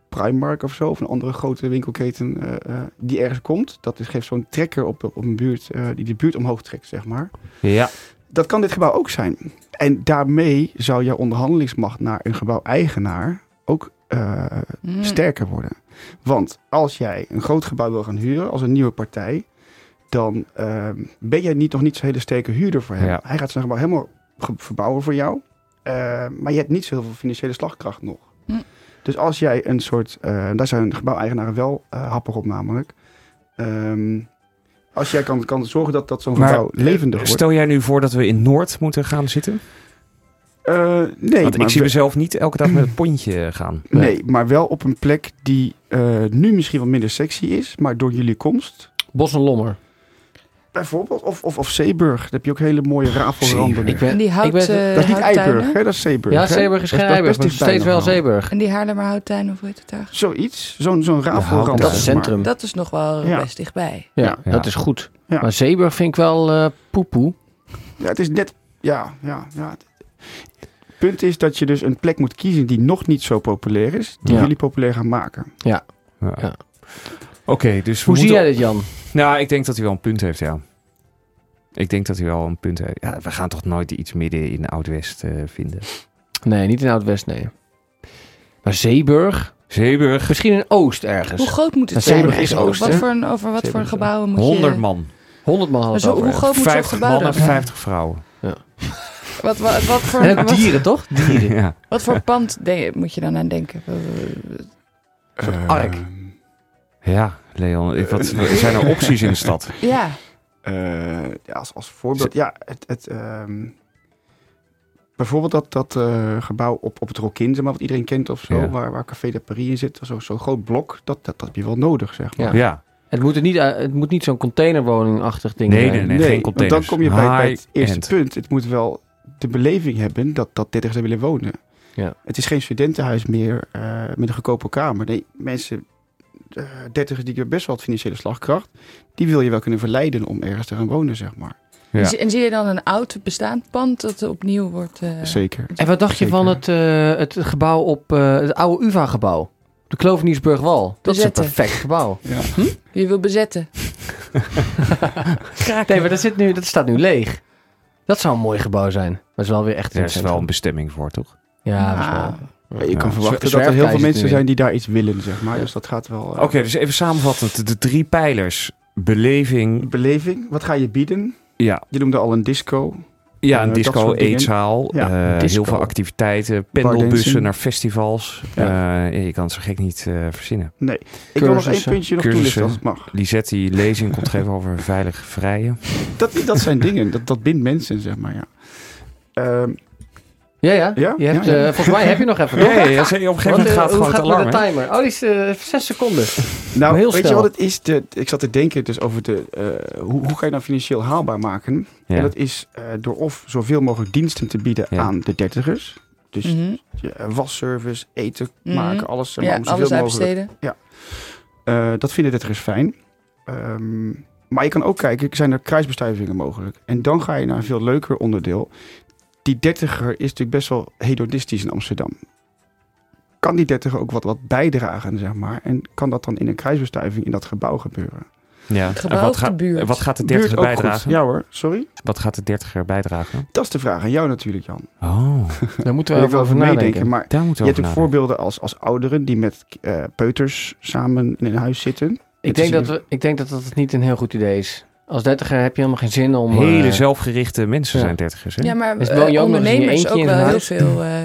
S6: Primark of zo, of een andere grote winkelketen eh, eh, die ergens komt. Dat is, geeft zo'n trekker op, op een buurt, eh, die de buurt omhoog trekt, zeg maar.
S2: Ja.
S6: Dat kan dit gebouw ook zijn. En daarmee zou jouw onderhandelingsmacht naar een gebouw-eigenaar ook eh,
S5: Mm.
S6: sterker worden. Want als jij een groot gebouw wil gaan huren als een nieuwe partij, dan ehm, ben jij niet, nog niet zo'n hele sterke huurder voor hem.
S2: Ja.
S6: Hij gaat zijn gebouw helemaal ge- verbouwen voor jou, eh, maar je hebt niet zoveel financiële slagkracht nog.
S5: Mm.
S6: Dus als jij een soort, eh, daar zijn gebouweigenaren wel eh, happig op namelijk. Ehm, als jij kan, kan zorgen dat, dat zo'n
S2: Maar, eh,
S6: gebouw levendig wordt.
S2: Stel jij nu voor dat we in Noord moeten gaan zitten?
S6: Eh, nee,
S2: Want ik
S6: maar
S2: zie
S6: we-
S2: mezelf niet elke dag met een pontje gaan.
S6: nee, maar wel op een plek die eh, nu misschien wat minder sexy is, maar door jullie komst.
S3: Bos en Lommer.
S6: Bijvoorbeeld, of, of, of Zeeburg. Daar heb je ook hele mooie rafelranden.
S3: Ik ben,
S5: En die hout,
S3: ben-
S5: eh,
S6: Dat is niet
S5: houttuinen.
S6: Eiburg, hè? dat is Zeeburg.
S3: ja,
S6: hè?
S3: Zeeburg is
S6: Dat
S3: geen
S6: dat
S3: Eiburg,
S6: best
S3: maar
S6: dichtbij
S3: steeds wel
S6: nog
S3: Zeeburg.
S5: En die Haarlemmer houttuin, of hoe heet het daar?
S6: Zoiets, zo'n zo'n rafelrand.
S3: Dat is
S6: zeg maar.
S3: centrum.
S5: Dat is nog wel
S6: Ja.
S5: best dichtbij.
S3: Ja,
S6: Ja.
S3: dat is goed.
S6: Ja.
S3: Maar Zeeburg vind ik wel eh poepoe.
S6: Ja, het is net... Ja, ja, ja. Het punt is dat je dus een plek moet kiezen die nog niet zo populair is. Die
S3: Ja.
S6: jullie populair gaan maken.
S2: Ja.
S3: Ja.
S2: Oké, dus we
S3: Hoe zie
S2: moeten-
S3: jij dit, Jan?
S2: Nou, ik denk dat hij wel een punt heeft, ja. Ik denk dat hij wel een punt heeft. Ja, we gaan toch nooit iets midden in Oud-West eh, vinden.
S3: Nee, niet in Oud-West, nee. Maar Zeeburg?
S2: Zeeburg,
S3: Misschien in Oost
S5: Hoe
S3: ergens.
S5: groot moet het
S3: Dat
S5: zijn?
S3: Zeeburg is
S5: eigenlijk?
S3: oost,
S5: wat
S3: hè?
S5: voor een, over wat voor
S3: Zeeburg
S5: een
S3: is
S5: gebouwen moet
S2: 100
S5: je...
S2: man,
S3: 100 man hadden
S5: Dus
S3: we het
S5: hoe
S3: over.
S5: groot moet zo'n
S2: 50
S5: gebouw
S2: mannen,
S5: dan?
S2: 50 vrouwen.
S5: Wat, wat, wat, voor,
S3: En ook
S5: wat,
S3: dieren, toch? Dieren.
S2: Ja.
S5: wat voor pand denk je- moet je dan aan denken?
S6: Eh,
S3: ark.
S2: ja, Leon, ik- wat, zijn er opties in de stad?
S5: Ja,
S6: eh, ja, als, als voorbeeld. Ja, het... het ehm, Bijvoorbeeld dat, dat eh, gebouw op, op het Rokin, zeg maar, wat iedereen kent of zo,
S2: Ja.
S6: waar, waar Café de Paris in zit, zo'n zo'n groot blok, dat, dat, dat heb je wel nodig, zeg maar.
S3: Ja.
S2: Ja,
S3: Het moet, er niet, eh, het moet niet zo'n containerwoningachtig ding
S2: Nee,
S3: zijn.
S2: nee, nee.
S6: Nee,
S2: geen
S6: want dan
S2: containers.
S6: kom je bij, bij het
S2: High-end.
S6: eerste punt. Het moet wel de beleving hebben dat, dat dertigers er willen wonen.
S3: Ja.
S6: Het is geen studentenhuis meer eh, met een goedkope kamer. Nee, mensen, eh, dertigers die hebben best wel wat financiële slagkracht, die wil je wel kunnen verleiden om ergens te gaan wonen, zeg maar.
S2: Ja.
S5: En, zie, en zie je dan een oud bestaand pand dat opnieuw wordt... eh,
S6: Zeker.
S3: En wat dacht je
S6: Zeker.
S3: van het, eh, het gebouw op eh, het oude UvA-gebouw? De Kloveniersburgwal. Dat is een
S5: Bezetten.
S3: perfect gebouw.
S5: Je wil bezetten.
S3: Nee, maar dat, zit nu, dat staat nu leeg. Dat zou een mooi gebouw zijn. Maar het is wel weer echt in
S2: er is
S3: het
S2: wel een
S3: centrum.
S2: bestemming voor, toch?
S3: Ja, dat is wel...
S5: Ah.
S6: Je
S2: Ja.
S6: kan verwachten dat er
S3: Zwerfkei
S6: heel veel
S3: zit nu
S6: mensen
S3: in.
S6: zijn die daar iets willen, zeg maar. Dus dat gaat wel... eh,
S2: Oké, dus even samenvattend. De drie pijlers. Beleving.
S6: Beleving, wat ga je bieden?
S2: Ja,
S6: Je noemde al een disco.
S2: ja
S6: Eh,
S2: een
S6: dat
S2: disco,
S6: soort dingen.
S2: eetzaal.
S6: Ja,
S2: eh,
S3: disco.
S2: Heel veel activiteiten.
S6: Bardancing.
S2: Pendelbussen naar festivals.
S6: Ja.
S2: Eh, je kan het zo gek niet eh, verzinnen.
S6: Ik wil nog één
S3: Cursussen.
S6: puntje nog toelichten
S2: Cursussen.
S6: als het mag.
S2: Lisette die lezing komt geven over veilig vrijen.
S6: Dat, dat zijn dingen, dat, dat bindt mensen, zeg maar, ja. Ehm,
S3: Ja, ja.
S6: Ja?
S3: Je hebt,
S6: Ja, ja.
S3: eh, volgens mij heb je nog even. toch?
S2: Nee, als je op een gegeven
S3: Want,
S2: moment
S3: eh,
S2: gaat
S3: hoe
S2: gewoon het
S3: gaat het
S2: alarm.
S3: met de
S2: hè?
S3: timer? Oh, die is eh, zes seconden.
S6: Nou,
S3: Maar heel
S6: weet
S3: snel.
S6: je wat het is? De, ik zat te denken dus over de, eh, hoe, hoe ga je nou financieel haalbaar maken? En
S2: Ja.
S6: dat is eh, door of zoveel mogelijk diensten te bieden
S2: Ja.
S6: aan de dertigers. Dus
S5: Mhm.
S6: je, eh, wasservice, eten
S5: Mhm.
S6: maken, alles. zeg maar,
S5: Ja,
S6: om zoveel
S5: alles
S6: mogelijk.
S5: uitbesteden.
S6: Eh, dat vinden dertigers fijn. Ehm, maar je kan ook kijken, zijn er kruisbestuivingen mogelijk? En dan ga je naar een veel leuker onderdeel. Die dertiger is natuurlijk best wel hedonistisch in Amsterdam. Kan die dertiger ook wat, wat bijdragen, zeg maar? En kan dat dan in een kruisbestuiving in dat gebouw gebeuren?
S2: Ja.
S5: Het
S2: En
S5: gebouw
S2: wat,
S5: of de
S2: gaat,
S5: buurt?
S2: wat gaat de
S6: Buurt
S2: dertiger
S6: ook
S2: bijdragen?
S6: goed. Ja hoor, sorry.
S2: Wat gaat de dertiger bijdragen?
S6: Dat is de vraag aan jou natuurlijk, Jan.
S2: Oh,
S3: Daar moeten we
S6: Daar wil ik
S3: even
S6: wel
S3: over
S6: over meedenken.
S3: nadenken.
S6: Maar
S2: daar moeten
S6: je
S2: we
S6: hebt ook
S2: over
S6: voorbeelden als, als ouderen die met eh, peuters samen in een huis zitten.
S3: Ik
S6: Het
S3: denk,
S6: is
S3: dat
S6: een-
S3: we, ik denk dat dat het niet een heel goed idee is. Als dertiger heb je helemaal geen zin om...
S2: nadenken. Hele
S3: eh,
S2: zelfgerichte mensen
S3: ja.
S2: zijn dertigers. Hè?
S5: Ja, maar
S3: Is het wel
S5: eh,
S3: jammer als je
S5: ondernemers
S3: eentje
S5: ook
S3: in
S5: wel heel
S3: huis-
S5: veel. eh,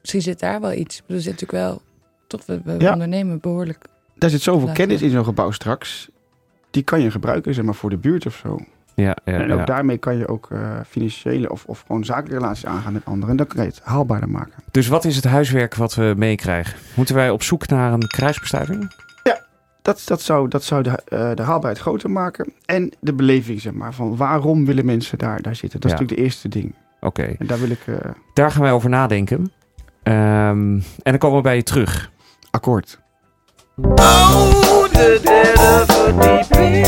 S5: misschien zit daar wel iets. Er zit natuurlijk wel. Toch, we, we
S6: Ja.
S5: ondernemen behoorlijk.
S6: Daar zit zoveel
S5: Laten we-
S6: kennis in zo'n gebouw straks. Die kan je gebruiken, zeg maar, voor de buurt of zo.
S2: Ja, ja,
S6: en ook
S2: ja.
S6: daarmee kan je ook eh, financiële of, of gewoon zakelijke relaties aangaan met anderen. En dan kan je het haalbaarder maken.
S2: Dus wat is het huiswerk wat we meekrijgen? Moeten wij op zoek naar een kruisbestuiving?
S6: Dat, dat zou, dat zou de, eh, de haalbaarheid groter maken. En de beleving, zeg maar, van waarom willen mensen daar, daar zitten. Dat is
S2: Ja.
S6: natuurlijk de eerste ding.
S2: Oké,
S6: En daar wil ik eh,
S2: daar gaan wij over nadenken. Ehm, en dan komen we bij je terug.
S6: akkoord.
S10: Oh,
S12: de derde verdieping.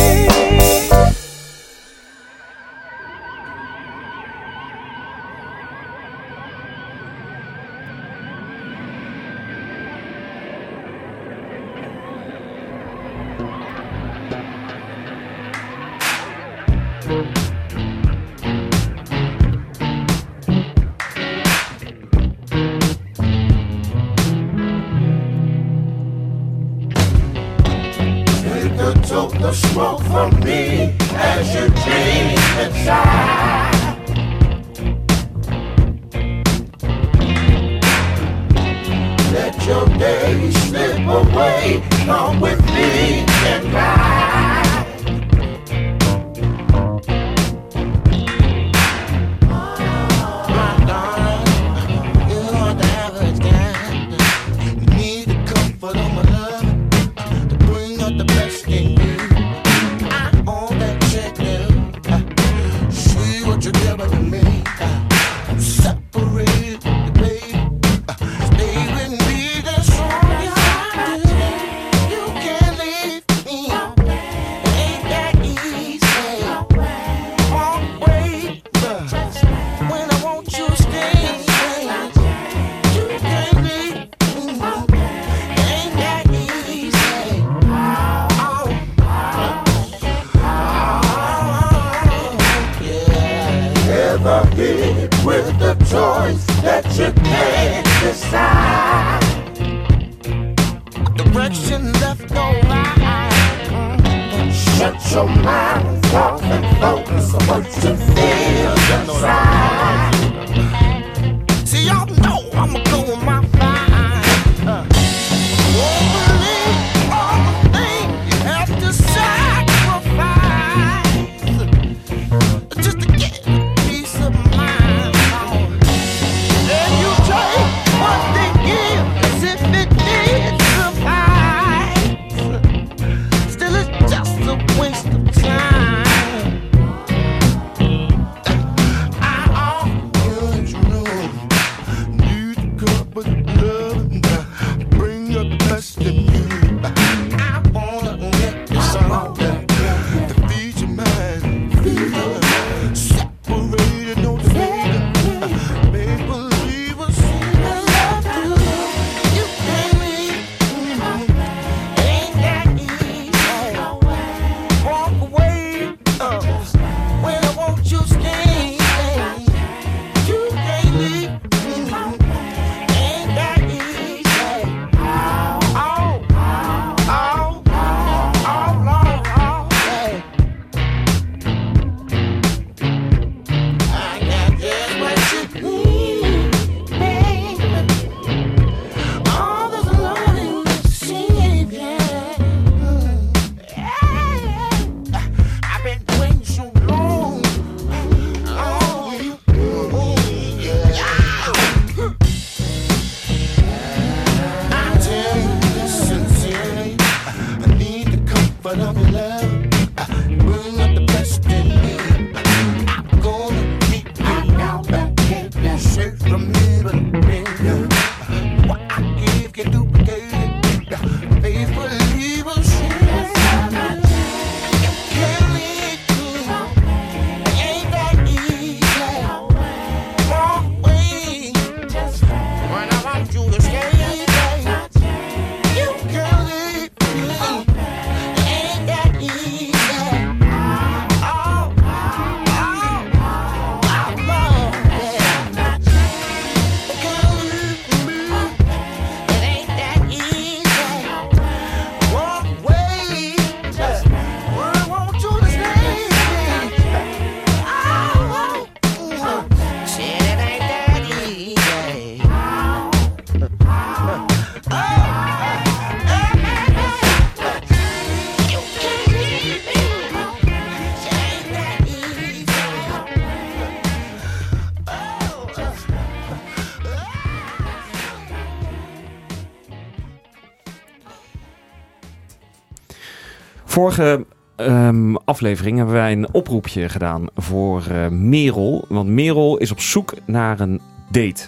S13: Vorige ehm, aflevering hebben wij een oproepje gedaan voor eh, Merel. Want Merel is op zoek naar een date.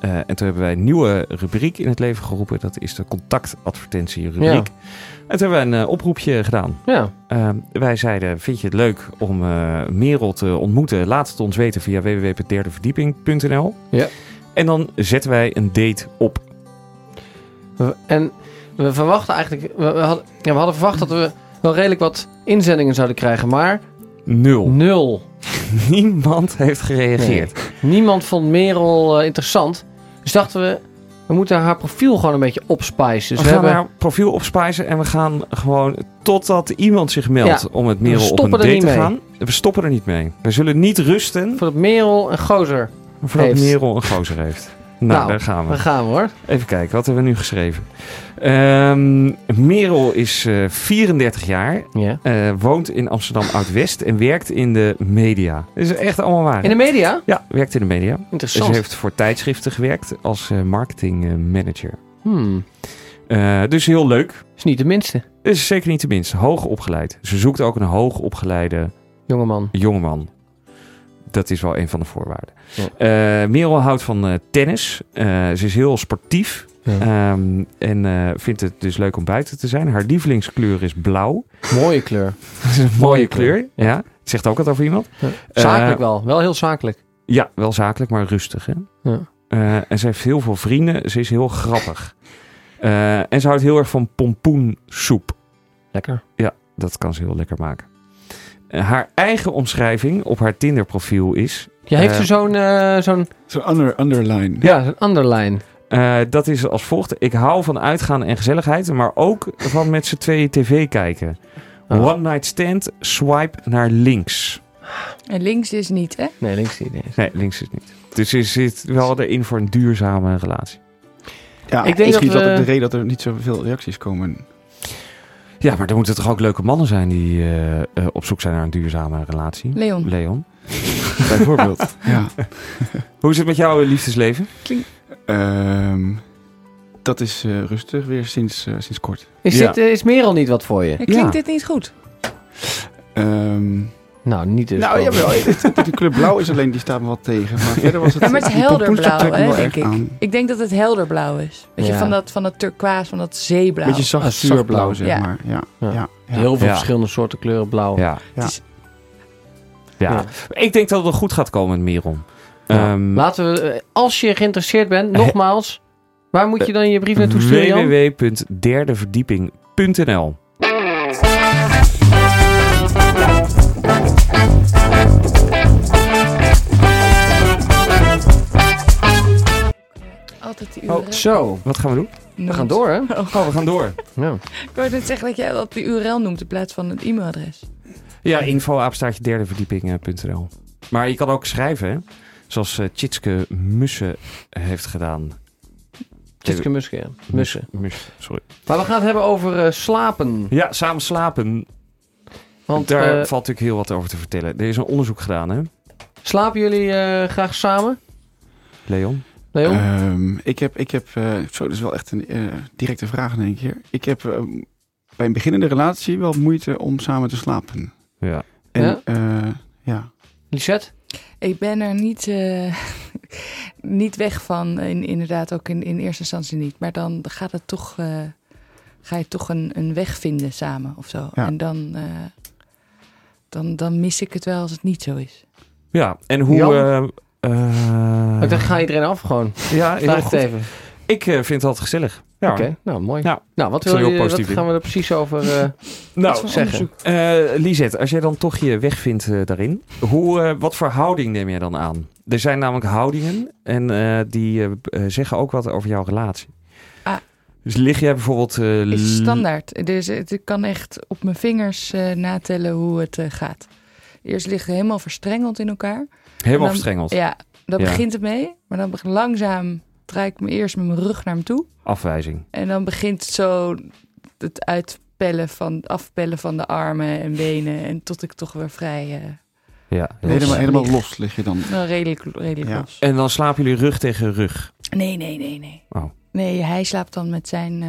S2: Eh, en toen hebben wij een nieuwe rubriek in het leven geroepen. Dat is de contactadvertentie-rubriek. En toen hebben wij een eh, oproepje gedaan.
S3: Ja.
S2: Eh, wij zeiden, vind je het leuk om eh, Merel te ontmoeten? Laat het ons weten via www.derdeverdieping.nl.
S3: Ja.
S2: En dan zetten wij een date op.
S3: We- En we verwachten eigenlijk... We, we hadden, ja, we hadden verwacht dat we wel redelijk wat inzendingen zouden krijgen, maar Mm.
S2: Nul.
S3: nul.
S2: Niemand heeft gereageerd.
S3: Niemand vond Merel eh, interessant. Dus dachten we, we moeten haar profiel gewoon een beetje opspicen.
S2: we
S3: Dus we,
S2: gaan
S3: hebben,
S2: haar profiel opspijzen en we gaan gewoon totdat iemand zich meldt
S3: Ja,
S2: om het
S3: we
S2: Merel op een
S3: stoppen er
S2: date
S3: niet
S2: te
S3: mee.
S2: gaan. We stoppen er niet mee. We zullen niet rusten
S3: voor het Merel een gozer.
S2: voordat
S3: Heeft.
S2: Merel een gozer heeft. Nou,
S3: Nou,
S2: daar gaan we.
S3: Daar gaan we hoor.
S2: Even kijken, wat hebben we nu geschreven? Ehm, Merel is eh, 34 jaar,
S3: Ja.
S2: eh, woont in Amsterdam Oud-West en werkt in de media. Dat is echt allemaal waar.
S3: In de media?
S2: Ja, werkt in de media. Ze
S3: Interessant.
S2: heeft voor tijdschriften gewerkt als eh, marketingmanager.
S3: Hmm,
S2: dus heel leuk.
S3: is niet de minste.
S2: Is zeker niet de minste. Hoog opgeleid. Ze zoekt ook een hoog opgeleide
S3: Jongeman.
S2: jongeman. Dat is wel een van de voorwaarden.
S3: Ja.
S2: Eh, Merel houdt van eh, tennis. Eh, ze is heel sportief.
S3: Ja.
S2: Ehm, en eh, vindt het dus leuk om buiten te zijn. Haar lievelingskleur is blauw.
S3: Eh, Mooie kleur.
S2: Dat is een mooie,
S3: Mooie kleur.
S2: kleur. Ja. Het zegt ook wat over iemand.
S3: Zakelijk
S2: Eh,
S3: wel. Wel heel zakelijk.
S2: Ja, wel zakelijk, maar rustig. Hè?
S3: Ja.
S2: Eh, en ze heeft heel veel vrienden. Ze is heel grappig. Eh, en ze houdt heel erg van pompoensoep.
S3: Lekker.
S2: Dat kan ze heel lekker maken. Eh, haar eigen omschrijving op haar Tinder-profiel is...
S3: Je heeft
S2: Eh,
S3: er zo'n... eh, zo'n
S6: Zo'n under, underline.
S3: ja, zo'n underline.
S2: eh, dat is als volgt. Ik hou van uitgaan en gezelligheid, maar ook van met z'n tweeën tv kijken.
S3: Oh.
S2: One night stand, swipe naar links.
S5: En links is niet, hè?
S3: Nee, links niet. nee.
S2: Nee, links is niet. Dus ze zit wel erin voor een duurzame relatie.
S6: Ja,
S3: Ik denk
S6: misschien
S3: dat
S6: is dat
S3: we-
S6: ook de reden dat er niet zoveel reacties komen.
S2: Ja, maar er moeten toch ook leuke mannen zijn die eh, eh, op zoek zijn naar een duurzame relatie?
S5: Leon.
S2: Leon.
S6: Bijvoorbeeld. ja.
S2: Hoe is het met jouw liefdesleven?
S6: Ehm, dat is eh, rustig weer sinds, eh, sinds kort.
S3: Is,
S2: Ja.
S3: dit, eh, is Merel niet wat voor je?
S5: Klinkt
S2: Ja.
S5: dit niet goed?
S6: Ehm,
S3: Nou, niet dus.
S6: nou,
S3: Paul.
S6: jawel. het- De kleur blauw is alleen, die staat me wat tegen. Maar verder was het...
S5: Ja, maar het is
S6: die
S5: helder
S6: pompoensoep
S5: blauw,
S6: trekt me
S5: hè,
S6: wel
S5: denk
S6: erg
S5: ik.
S6: aan.
S5: Ik denk dat het helder blauw is. Weet
S3: Ja.
S5: je, van dat, van dat turquoise, van dat zeeblauw.
S6: Beetje
S3: Ah,
S6: zacht
S3: zacht blauw.
S6: zuurblauw, zeg
S5: Ja.
S6: maar. Ja.
S3: Ja.
S6: Ja. Ja.
S3: Heel veel
S2: Ja.
S3: verschillende soorten kleuren blauw.
S2: Ja.
S6: Ja.
S2: Ja. Ik denk dat het goed gaat komen met Meron.
S3: Ja.
S2: Ehm,
S3: Laten we, eh, als je geïnteresseerd bent, nogmaals, waar moet je dan je brief naartoe sturen? Jan?
S2: www.derdeverdieping.nl
S5: Altijd
S6: Oh,
S5: die uren.
S3: Zo,
S2: Wat gaan we doen?
S3: we gaan door, hè?
S2: Oh, we gaan door.
S3: Ja.
S5: Ik wou net zeggen dat jij dat de URL noemt in plaats van het e-mailadres.
S2: Ja, eh, info-apenstaartje derdeverdieping.nl Maar je kan ook schrijven, hè? Zoals eh, Tjitske Mussen heeft gedaan.
S3: Tjitske Muske, ja. Mussen.
S2: Mus- sorry.
S3: Maar we gaan het hebben over eh, slapen.
S2: Ja, samen slapen.
S3: Want
S2: Daar
S3: eh,
S2: valt natuurlijk heel wat over te vertellen. Er is een onderzoek gedaan, hè?
S3: slapen jullie eh, graag samen?
S2: Leon?
S3: Nee,
S2: Eh.
S3: joh?
S6: Ehm, ik heb, ik heb eh, zo, dat is wel echt een eh, directe vraag in één keer. Ik heb ehm, bij een beginnende relatie wel moeite om samen te slapen.
S2: Ja.
S6: En,
S3: Ja?
S6: eh, ja.
S3: Lisette?
S5: Ik ben er niet, eh, niet weg van. In, inderdaad, ook in, in eerste instantie niet. Maar dan gaat het toch, eh, ga je toch een, een weg vinden samen of zo.
S6: Ja.
S5: En dan, eh, dan, dan mis ik het wel als het niet zo is.
S2: Ja, en hoe...
S3: Jan?
S2: eh, eh,
S3: Oh, ik dacht, ga iedereen af gewoon.
S2: ja, heel
S3: Vraag het
S2: goed.
S3: even.
S2: Ik eh, vind het altijd gezellig. Ja,
S3: Oké, nou mooi.
S2: Ja.
S3: Nou, wat,
S2: Ik zal
S3: wil
S2: heel
S3: je, wat
S2: positief in.
S3: gaan we er precies over eh,
S2: Nou,
S5: Wat voor
S3: zeggen?
S5: onderzoek?
S2: Eh Lisette, als jij dan toch je weg vindt eh, daarin, hoe, eh, wat voor houding neem jij dan aan? Er zijn namelijk houdingen en eh, die eh, b- eh, zeggen ook wat over jouw relatie.
S5: Ah.
S2: Dus lig jij bijvoorbeeld... eh,
S5: is
S2: l-
S5: standaard. Dus het ik kan echt op mijn vingers eh, natellen hoe het eh, gaat. Eerst liggen we helemaal verstrengeld in elkaar.
S2: Helemaal
S5: Dan-
S2: verstrengeld.
S5: Ja, daar
S2: Ja.
S5: begint het mee. Maar dan beg- langzaam draai ik me eerst met mijn rug naar hem toe.
S2: Afwijzing.
S5: En dan begint zo het uitpellen van, afpellen van de armen en benen. En tot ik toch weer vrij, eh,
S2: Ja.
S6: Helemaal, helemaal
S5: Lig.
S6: los lig je dan.
S5: wel redelijk, redelijk
S6: Ja.
S5: los.
S2: En dan slapen jullie rug tegen rug.
S5: Nee, nee, nee, nee.
S2: Oh.
S5: Nee, hij slaapt dan met zijn eh,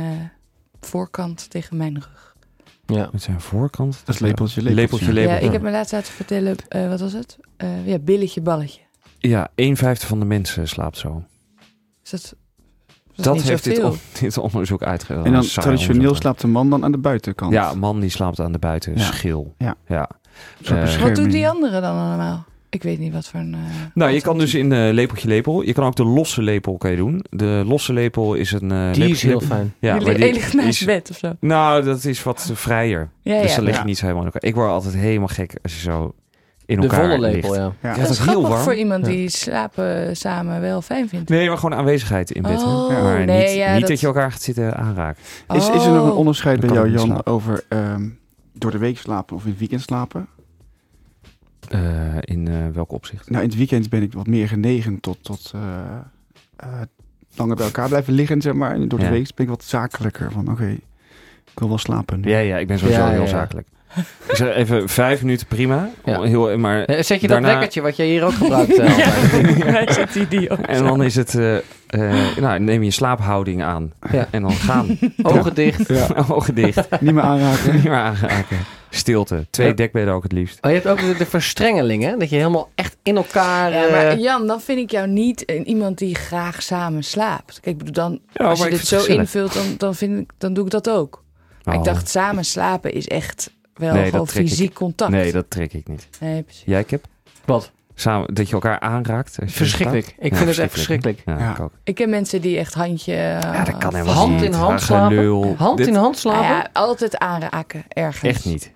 S5: voorkant tegen mijn rug.
S3: Ja.
S2: Met zijn voorkant.
S6: Dat is lepeltje, lepeltje.
S2: Lepeltje, lepeltje.
S5: Ja, ik heb me laatst laten vertellen, eh, wat was het? Eh, ja, billetje, balletje.
S2: Ja, een vijfde van de mensen slaapt zo.
S5: Dus dat, dat is
S2: Dat
S5: niet
S2: heeft dit,
S5: zoveel.
S2: on- dit onderzoek uitgelegd.
S6: en dan
S2: Een Ah, saai
S6: traditioneel
S2: onderzoek.
S6: slaapt de man dan aan de buitenkant.
S2: Ja, een man die slaapt aan de buitenschil.
S6: Ja.
S2: ja.
S6: Een soort
S2: Eh,
S5: Wat
S6: bescherming.
S5: doen die anderen dan allemaal? Ik weet niet wat voor een... eh,
S2: Nou, je
S5: wat
S2: kan
S5: een-
S2: dus in eh, lepeltje lepel. Je kan ook de losse lepel kan je doen. De losse lepel is een. eh
S3: Die is
S2: lepeltje
S3: heel
S2: lepel.
S3: fijn.
S2: Ja,
S5: Jullie
S2: maar die
S5: één ligt naast
S2: is-
S5: bed of zo.
S2: Nou, dat is wat vrijer.
S5: Ja, nou,
S2: dus
S5: ja.
S2: dan lig je
S6: Ja.
S2: niet zo helemaal in elkaar. Ik word altijd helemaal gek als je zo in
S3: De
S2: elkaar
S3: volle lepel,
S2: ligt.
S3: ja.
S6: Ja.
S2: Ja,
S5: dat is
S2: heel
S5: grappig
S2: warm.
S5: voor iemand die slapen eh, samen wel fijn vindt.
S2: Nee, maar gewoon aanwezigheid in bed. hè.
S5: Oh,
S2: maar
S5: nee,
S2: niet,
S5: ja,
S2: niet dat...
S5: dat-
S2: je elkaar gaat zitten aanraken.
S6: Is, is er nog een
S5: Oh.
S6: onderscheid bij
S2: Dan kan
S6: jou,
S2: ik niet
S6: Jan, over ehm, door de week slapen of in het weekend slapen?
S2: Eh, in eh, welk opzicht?
S6: Nou, in het weekend ben ik wat meer genegen tot, tot eh, eh, langer bij elkaar blijven liggen, zeg maar. En door de
S2: Ja.
S6: week ben ik wat zakelijker. Van oké, ik wil wel slapen. nu.
S2: Ja, ja, ik ben sowieso
S3: Ja, ja,
S2: heel
S3: ja.
S2: zakelijk. Ik zeg even vijf minuten prima.
S3: Ja.
S2: Heel, maar,
S3: Eh, Zet je
S2: Daarna-
S3: dat lekkertje wat jij hier ook gebruikt? eh, altijd?
S5: Hij zet die die op.
S2: en dan is het, eh, eh, nou, neem je slaaphouding aan.
S3: Ja.
S2: En dan gaan.
S3: Ogen dicht.
S2: Ogen dicht.
S6: Niet meer aanraken.
S2: Niet meer aanraken. Stilte. Twee
S3: Ja.
S2: dekbedden ook het liefst.
S3: Maar je hebt ook de, de verstrengeling, hè? Dat je helemaal echt in elkaar...
S5: Ja, maar
S3: eh,
S5: Jan, dan vind ik jou niet een- iemand die graag samen slaapt. Kijk, ik bedoel, dan,
S2: Ja,
S5: als
S2: maar
S5: je
S2: ik
S5: dit
S2: vind
S5: zo
S2: het gezellig.
S5: invult, dan, dan, vind ik, dan doe ik dat ook. Maar ik
S2: Oh.
S5: dacht, samen slapen is echt wel
S2: Nee, dat
S5: gewoon
S2: trek ik.
S5: fysiek contact.
S2: Nee, dat trek ik niet.
S5: Nee, precies.
S2: Jij, Kip?
S3: Wat?
S2: Samen, dat je elkaar aanraakt? als je
S3: Verschrikkelijk. Ik vind het echt
S2: verschrikkelijk.
S3: verschrikkelijk.
S2: slaapt? Ja,
S6: Ja.
S2: ik ook.
S5: Ik ken mensen die echt handje...
S2: Ja, dat kan helemaal
S3: Hand
S2: niet.
S3: in hand
S2: Ah,
S3: slapen.
S2: gelul.
S3: Hand
S2: Dit-
S3: in hand slapen?
S5: Nou ja, altijd aanraken ergens.
S2: Echt niet.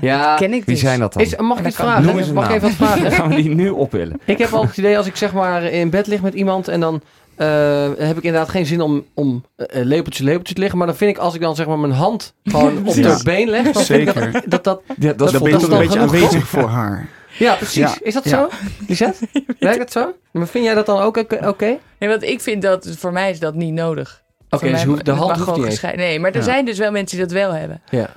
S3: Ja.
S5: Dat ken ik
S2: Wie
S5: dus.
S2: zijn dat dan?
S3: Is, mag ik
S5: Dat
S3: iets
S5: kan.
S3: vragen?
S2: Noem eens een
S3: mag ik
S2: naam.
S3: even wat vragen?
S2: Gaan we die nu opwillen?
S3: Ik heb altijd het idee als ik zeg maar in bed lig met iemand en dan eh, heb ik inderdaad geen zin om, om eh, eh, lepeltje lepeltje te liggen. Maar dan vind ik als ik dan zeg maar mijn hand gewoon op
S6: Ja.
S3: haar been leg, dan vind ik dat-
S6: Zeker.
S3: dat, dat...
S2: Ja, dat,
S6: Dan ben je
S3: dat
S6: toch een
S3: is
S6: beetje
S3: dan genoeg,
S6: aanwezig voor haar.
S3: Ja, precies.
S6: Ja.
S3: Is dat
S6: Ja.
S3: zo, Lisette? Werkt dat zo? Maar vind jij dat dan ook oké? Oké,
S5: Nee, want ik vind dat, voor mij is dat niet nodig. Voor
S3: dus
S5: mij
S3: hoeft- de
S5: mag-
S3: hand
S5: mag
S3: hoeft
S5: gewoon
S3: niet eens.
S5: gescheiden. Nee, maar er
S6: Ja.
S5: zijn dus wel mensen die dat wel hebben,
S3: Ja.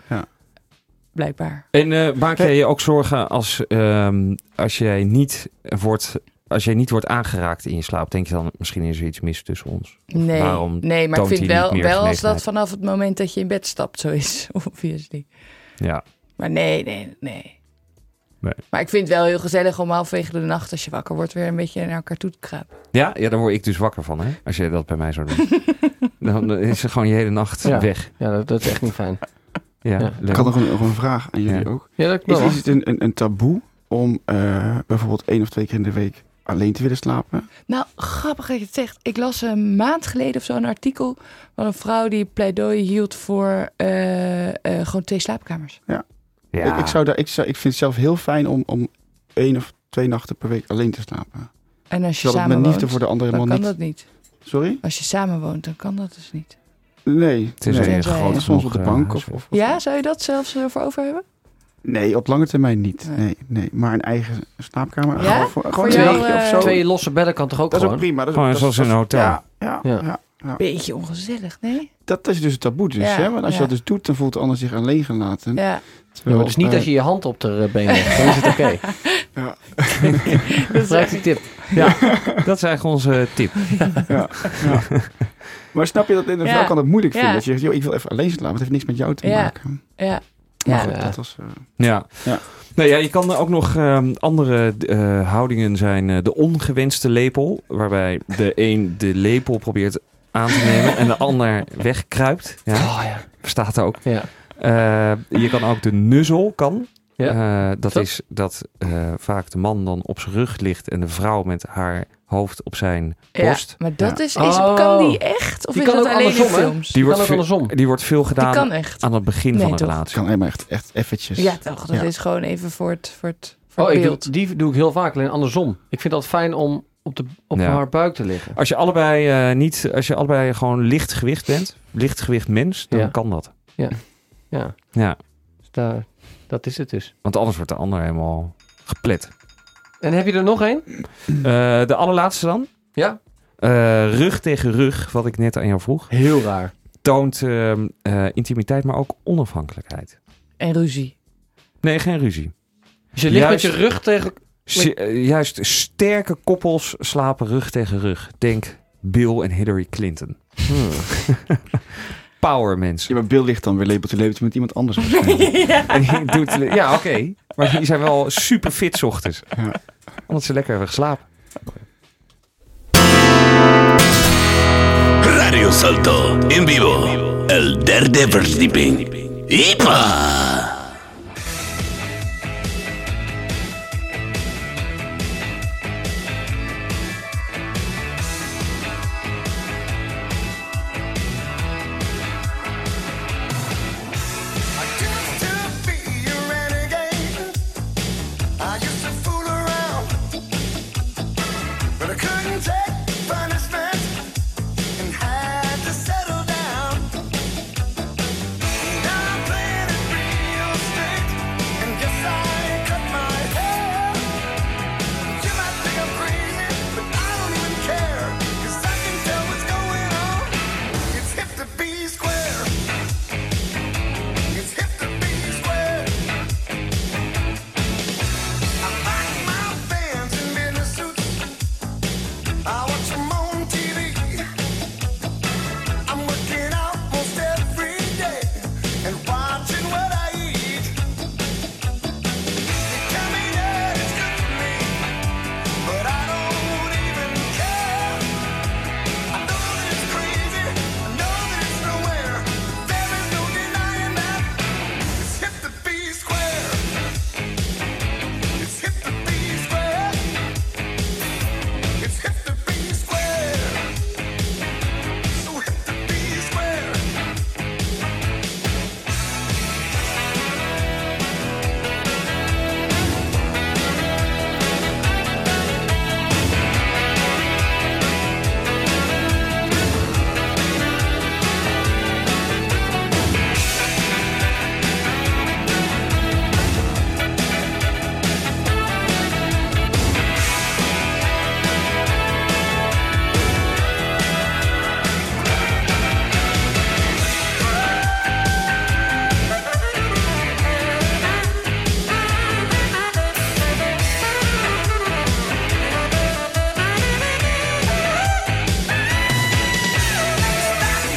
S5: blijkbaar.
S2: En eh, maak jij je ook zorgen als, ehm, als, jij niet wordt, als jij niet wordt aangeraakt in je slaap? Denk je dan, misschien is er iets mis tussen ons?
S5: Nee,
S2: waarom
S5: nee maar ik
S2: toont
S5: vind
S2: hij niet
S5: wel,
S2: meer
S5: wel als dat
S2: genegenheid?
S5: vanaf het moment dat je in bed stapt zo is, obviously.
S2: Ja.
S5: Maar nee, nee, nee.
S2: Nee.
S5: Maar ik vind het wel heel gezellig om halverwege de nacht, als je wakker wordt, weer een beetje naar elkaar toe te kruipen.
S2: Ja? ja, daar word ik dus wakker van, hè? Als jij dat bij mij zou doen. dan eh, is er gewoon je hele nacht
S3: Ja.
S2: weg.
S3: Ja, dat, dat is echt niet fijn.
S2: Ja,
S3: Ja.
S2: leuk.
S6: Ik had nog een, nog een vraag aan jullie
S2: Ja.
S6: ook.
S3: Ja, dat
S6: Is,
S3: wel.
S6: is het een, een, een taboe om eh, bijvoorbeeld één of twee keer in de week alleen te willen slapen?
S5: Nou, grappig dat je het zegt. Ik las een maand geleden of zo een artikel van een vrouw die pleidooi hield voor eh, eh, gewoon twee slaapkamers.
S2: Ja.
S6: Ik, ik, zou daar, ik, zou, ik vind het zelf heel fijn om, om één of twee nachten per week alleen te slapen.
S5: En als je
S6: Zodat het
S5: samen
S6: mijn
S5: woont,
S6: liefde voor de andere
S5: dan
S6: man
S5: kan
S6: niet...
S5: dat niet.
S6: Sorry?
S5: Als je samen woont, dan kan dat dus niet.
S6: Nee.
S2: Het is
S6: nee.
S2: een
S5: Tenzij-
S2: groot
S6: Soms op de
S2: genoeg, eh,
S6: bank of,
S2: huiswerk.
S6: of, of-
S5: Ja, zou je dat zelfs eh, voor over hebben?
S6: Nee, op lange termijn niet.
S5: Nee.
S6: Nee, nee. Maar een eigen slaapkamer.
S5: Ja?
S6: Gewoon, voor- gewoon
S5: jou,
S6: twee of
S5: eh,
S6: zo.
S3: Twee losse bedden kan toch ook
S6: dat is ook
S3: gewoon?
S6: prima. Dat is,
S2: Gewoon
S6: dat is-
S2: zoals in een
S6: dat is-
S2: hotel.
S6: Ja, ja,
S3: Ja.
S6: ja.
S5: Beetje ongezellig, nee?
S6: Dat is dus het taboe dus.
S5: Ja,
S6: hè? Want als
S5: ja.
S6: je dat dus doet, dan voelt de ander zich alleen gelaten.
S5: Ja,
S3: Ja, maar dus niet
S6: eh,
S3: als je je hand op de eh, been legt. Dan is het oké. Gebruik die tip.
S2: Dat is eigenlijk onze eh, tip.
S6: Maar snap je dat in de
S5: Ja.
S6: vrouw kan het moeilijk
S5: Ja.
S6: vinden? Dat je zegt, joh, ik wil even alleen slapen. Het heeft niks met jou te
S5: Ja.
S6: maken.
S5: ja.
S6: Maar
S5: Ja.
S6: goed,
S3: Ja.
S6: dat was... eh,
S2: Ja.
S6: Ja.
S2: Nou ja, je kan ook nog ehm, andere eh, houdingen zijn. eh, de ongewenste lepel, waarbij de een de lepel probeert aan te nemen en de ander wegkruipt. Ja,
S3: Oh ja.
S2: staat er ook.
S3: Ja.
S2: Eh, je kan ook de nuzzel, kan. Eh, dat
S3: Zo.
S2: is dat eh, vaak de man dan op zijn rug ligt en de vrouw met haar hoofd op zijn
S5: Ja,
S2: borst.
S5: maar dat
S6: Ja.
S5: is, is
S3: Oh.
S5: kan die echt? Of
S3: Die
S5: is
S3: kan
S5: dat
S3: ook
S5: alleen in
S3: andersom, hè?
S5: films?
S2: Die
S3: kan
S2: wordt,
S3: ook
S2: veel-
S3: andersom.
S2: die wordt veel
S5: Die
S2: gedaan
S5: kan echt.
S2: aan het begin
S5: Nee,
S2: van een
S5: toch?
S6: Het
S2: relatie.
S6: kan helemaal echt, echt eventjes.
S5: Ja, toch? Dat
S6: Ja.
S5: is gewoon even voor het, voor het, voor
S3: Oh,
S5: het
S3: ik doe,
S5: beeld.
S3: die doe ik heel vaak, alleen andersom. Ik vind dat fijn om op, de, op
S2: Ja.
S3: haar buik te liggen.
S2: Als je allebei eh, niet, als je allebei gewoon licht gewicht bent, licht gewicht mens, dan
S3: Ja.
S2: kan dat.
S3: Ja,
S2: Ja.
S3: dus daar, dat is het dus.
S2: Want anders wordt de ander helemaal geplet.
S3: En heb je er nog één?
S2: Eh, de allerlaatste dan.
S3: Ja.
S2: Eh, rug tegen rug, wat ik net aan jou vroeg,
S3: Heel raar.
S2: toont ehm, eh, intimiteit, maar ook onafhankelijkheid.
S5: En ruzie.
S2: Nee, geen ruzie.
S3: Dus je ligt
S2: Juist.
S3: met je rug tegen...
S2: Si- eh, juist sterke koppels slapen rug tegen rug. Denk Bill en Hillary Clinton. Power
S6: Ja,
S2: mensen.
S6: maar Bill ligt dan weer lepeltje lepeltje met iemand anders. waarschijnlijk.
S2: En die doet- ja, oké. Maar die zijn wel super fit 's ochtends.
S6: Ja.
S2: Omdat ze lekker hebben geslapen.
S7: Radio Salto, en vivo, el derde verdieping. ¡Ipa!
S13: I used to be a renegade. I used to fool around, but I couldn't take punishment and had to settle down. Now I'm playing it real straight, and yes I cut my hair. You might think I'm crazy, but I don't even care, 'cause I can tell what's going on. It's hip to be square. It's hip to be square. I like my fans in mini suits. I watch 'em on TV. I'm working out most every day and watching what I eat. They tell me that it's good for me, but I don't even care. I know that it's crazy. I know that it's nowhere. There is no denying that. It's hip to be square. It's hip to be square. It's hip to be square. So hip to be square.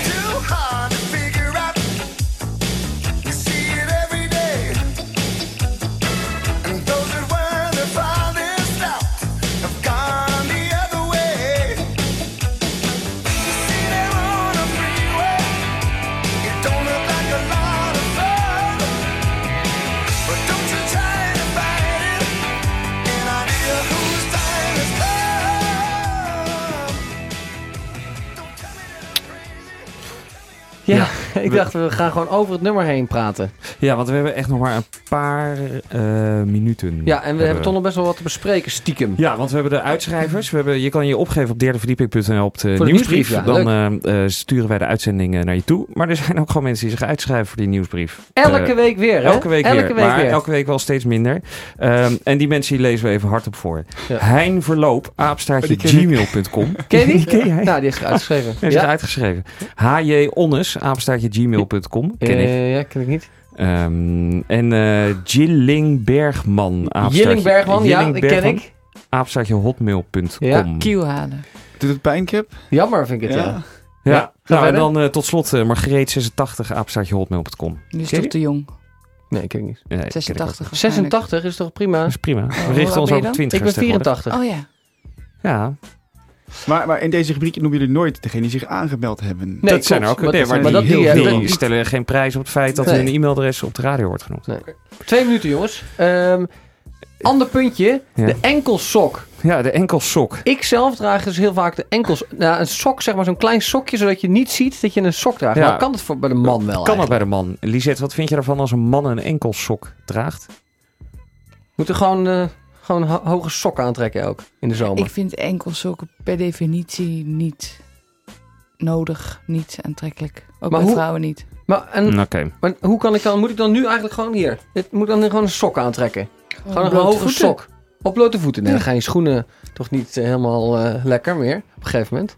S13: Too hard to figure out. You see it every day. And those that were the farthest out have gone the other way. You see them on a freeway. It don't look like a lot of fun. But don't you try to fight it. An idea whose time has come. Don't tell me that I'm crazy.
S3: Ja, ik dacht, we gaan gewoon over het nummer heen praten.
S2: Ja, want we hebben echt nog maar een paar eh, minuten.
S3: Ja, en we hebben
S2: we.
S3: toch nog best wel wat te bespreken, stiekem.
S2: Ja, want we hebben de uitschrijvers. We hebben, je kan je opgeven op derdeverdieping.nl op de,
S3: Voor de
S2: nieuwsbrief.
S3: nieuwsbrief, ja,
S2: Dan eh, eh, sturen wij de uitzending eh, naar je toe. Maar er zijn ook gewoon mensen die zich uitschrijven voor die nieuwsbrief.
S3: Elke
S2: Eh,
S3: week weer, hè?
S2: Elke week
S3: elke
S2: weer,
S3: Week
S2: maar
S3: weer.
S2: elke week wel steeds minder. Ehm, en die mensen die lezen we even hardop voor.
S3: Ja.
S2: Hein Verloop, aapstaartje
S6: Oh, die
S2: gmail.com.
S3: Ken je die?
S2: Ken jij?
S3: Nou, die heeft uitgeschreven.
S2: Hij is
S3: ja?
S2: uitgeschreven. H.J. Onnes, aapstaartje gmail.com. Ken ik.
S3: Eh, ja, ken ik niet.
S2: Ehm, en eh Jilling Bergman, aapstaartje.
S3: Jilling Bergman, ja,
S2: Jilling
S3: die ken
S2: Bergman,
S3: ik.
S2: aapstaartje hotmail.com.
S3: Ja,
S5: Kiel halen.
S6: Doet het pijn, Kip?
S3: Jammer vind ik het, ja.
S6: Ja.
S2: Ja,
S3: Ja, ga
S2: nou en
S3: verder.
S2: dan eh, tot slot eh, Margreet86, apenstaartje hotmail.com.
S5: Nu is het
S2: Ken je?
S5: toch te jong.
S3: Nee, ik ken ik niet.
S2: Nee, dat ken ik ook.
S5: 86 waarschijnlijk.
S3: 86 is toch prima?
S2: Dat is prima. We
S5: hoe oud
S2: richten
S5: ben
S2: ons
S5: je
S2: ook op
S5: dan?
S2: 20
S3: Ik ben 84.
S5: Oh ja.
S2: Ja,
S6: Maar, maar in deze rubriek noemen jullie nooit degene die zich aangemeld hebben.
S3: Nee,
S2: dat zijn er
S3: klopt,
S2: ook. Nee,
S3: dat
S2: maar
S3: zijn-
S2: die,
S3: maar dat die,
S2: die,
S3: eh,
S2: die
S3: dat-
S2: stellen geen prijs op het feit dat
S3: Nee.
S2: hun e-mailadres op de radio wordt genoemd.
S3: Twee minuten, jongens. Ehm, ander puntje.
S2: Ja.
S3: De enkelsok.
S2: Ja, de enkelsok.
S3: Ik zelf draag dus heel vaak de enkels... Nou, een sok, zeg maar zo'n klein sokje, zodat je niet ziet dat je een sok draagt.
S2: Ja.
S3: Nou, kan dat voor, bij de man wel
S2: Kan dat
S3: eigenlijk.
S2: bij de man. Lisette, wat vind je ervan als een man een enkelsok draagt?
S3: Moet er gewoon, eh, gewoon ho- hoge sokken aantrekken ook in de zomer.
S5: Ik vind enkelsokken per definitie niet nodig, niet aantrekkelijk. Ook
S3: Maar
S5: bij
S3: hoe-
S5: vrouwen niet.
S3: Maar, en,
S2: Hm. Oké.
S3: maar hoe kan ik dan... Moet ik dan nu eigenlijk gewoon hier... Dit moet ik dan gewoon een sok aantrekken. Gewoon een
S5: blote
S3: hoge
S5: voeten.
S3: sok. Op blote voeten. Nee, dan gaan je schoenen toch niet eh, helemaal eh, lekker meer. Op een gegeven moment.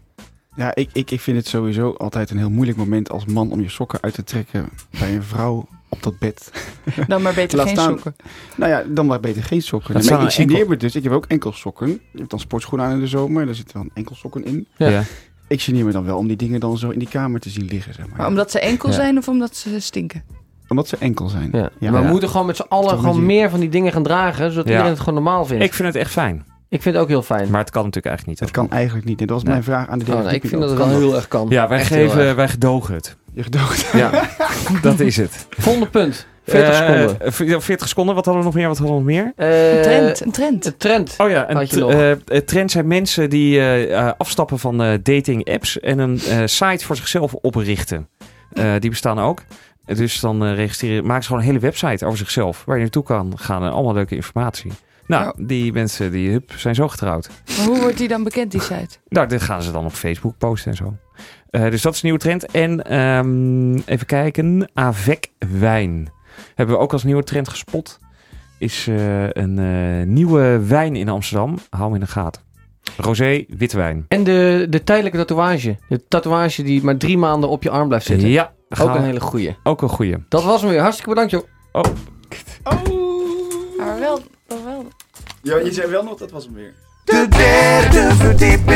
S6: Ja, ik, ik, ik vind het sowieso altijd een heel moeilijk moment als man om je sokken uit te trekken bij een vrouw op dat bed.
S5: Dan maar beter
S6: Laat
S5: geen
S6: staan.
S5: sokken.
S6: Nou ja, dan maar beter geen sokken.
S2: Dat
S6: Nee, maar ik
S2: zou een
S6: geneer me dus. Ik heb ook enkelsokken. Je hebt dan sportschoenen aan in de zomer. en Daar zitten dan enkelsokken in.
S3: Ja.
S2: Ja.
S6: Ik geneer me dan wel om die dingen dan zo in die kamer te zien liggen. Zeg maar.
S5: Maar omdat ze enkel
S3: Ja.
S5: zijn of omdat ze stinken?
S6: Omdat ze enkel zijn.
S3: Ja.
S6: Ja.
S3: maar we
S2: Ja.
S3: moeten gewoon met z'n allen
S6: Toch
S3: gewoon
S6: met die-
S3: meer van die dingen gaan dragen, zodat
S2: Ja.
S3: iedereen het gewoon normaal vindt.
S2: Ik vind het echt fijn.
S3: Ik vind het ook heel fijn.
S2: Maar het kan natuurlijk eigenlijk niet.
S6: Het kan eigenlijk niet. En dat was mijn vraag aan de
S3: Oh,
S6: derde.
S3: nee, ik vind dat het wel heel erg kan.
S2: Ja, wij,
S3: Echt heel
S2: geven,
S3: erg.
S2: wij gedogen het.
S6: Je gedoogt.
S2: Ja, dat is het.
S3: Volgende punt. 40
S2: Eh,
S3: seconden.
S2: eh, v- ja, 40 seconden. Wat hadden we nog meer? Wat hadden we nog meer?
S3: Eh,
S5: Een trend, een trend.
S3: Een trend.
S2: Oh ja, een
S3: Had je
S2: t-
S3: nog?
S2: eh, eh, trend zijn mensen die eh, eh, afstappen van eh, dating apps en een eh, site voor zichzelf oprichten. Eh, die bestaan ook. Eh, Dus dan eh, registreren, maken ze gewoon een hele website over zichzelf. Waar je naartoe kan gaan en allemaal leuke informatie. Nou, die mensen die hup, zijn zo getrouwd.
S5: Maar hoe wordt die dan bekend, die site?
S2: Nou, dit gaan ze dan op Facebook posten en zo. Eh, dus dat is een nieuwe trend. En ehm, even kijken. Avec wijn. Hebben we ook als nieuwe trend gespot. Is eh, een eh, nieuwe wijn in Amsterdam. Hou hem in de gaten. Rosé, witte wijn.
S3: En de, de tijdelijke tatoeage. De tatoeage die maar drie maanden op je arm blijft zitten.
S2: Ja, gaan
S3: Ook een
S2: we-
S3: hele goeie.
S2: ook een goeie.
S3: Dat was hem weer. Hartstikke bedankt, joh.
S2: Oh,
S5: Maar wel, wel, wel.
S6: Ja, je zei wel nog, dat was hem weer.
S13: De derde verdieping.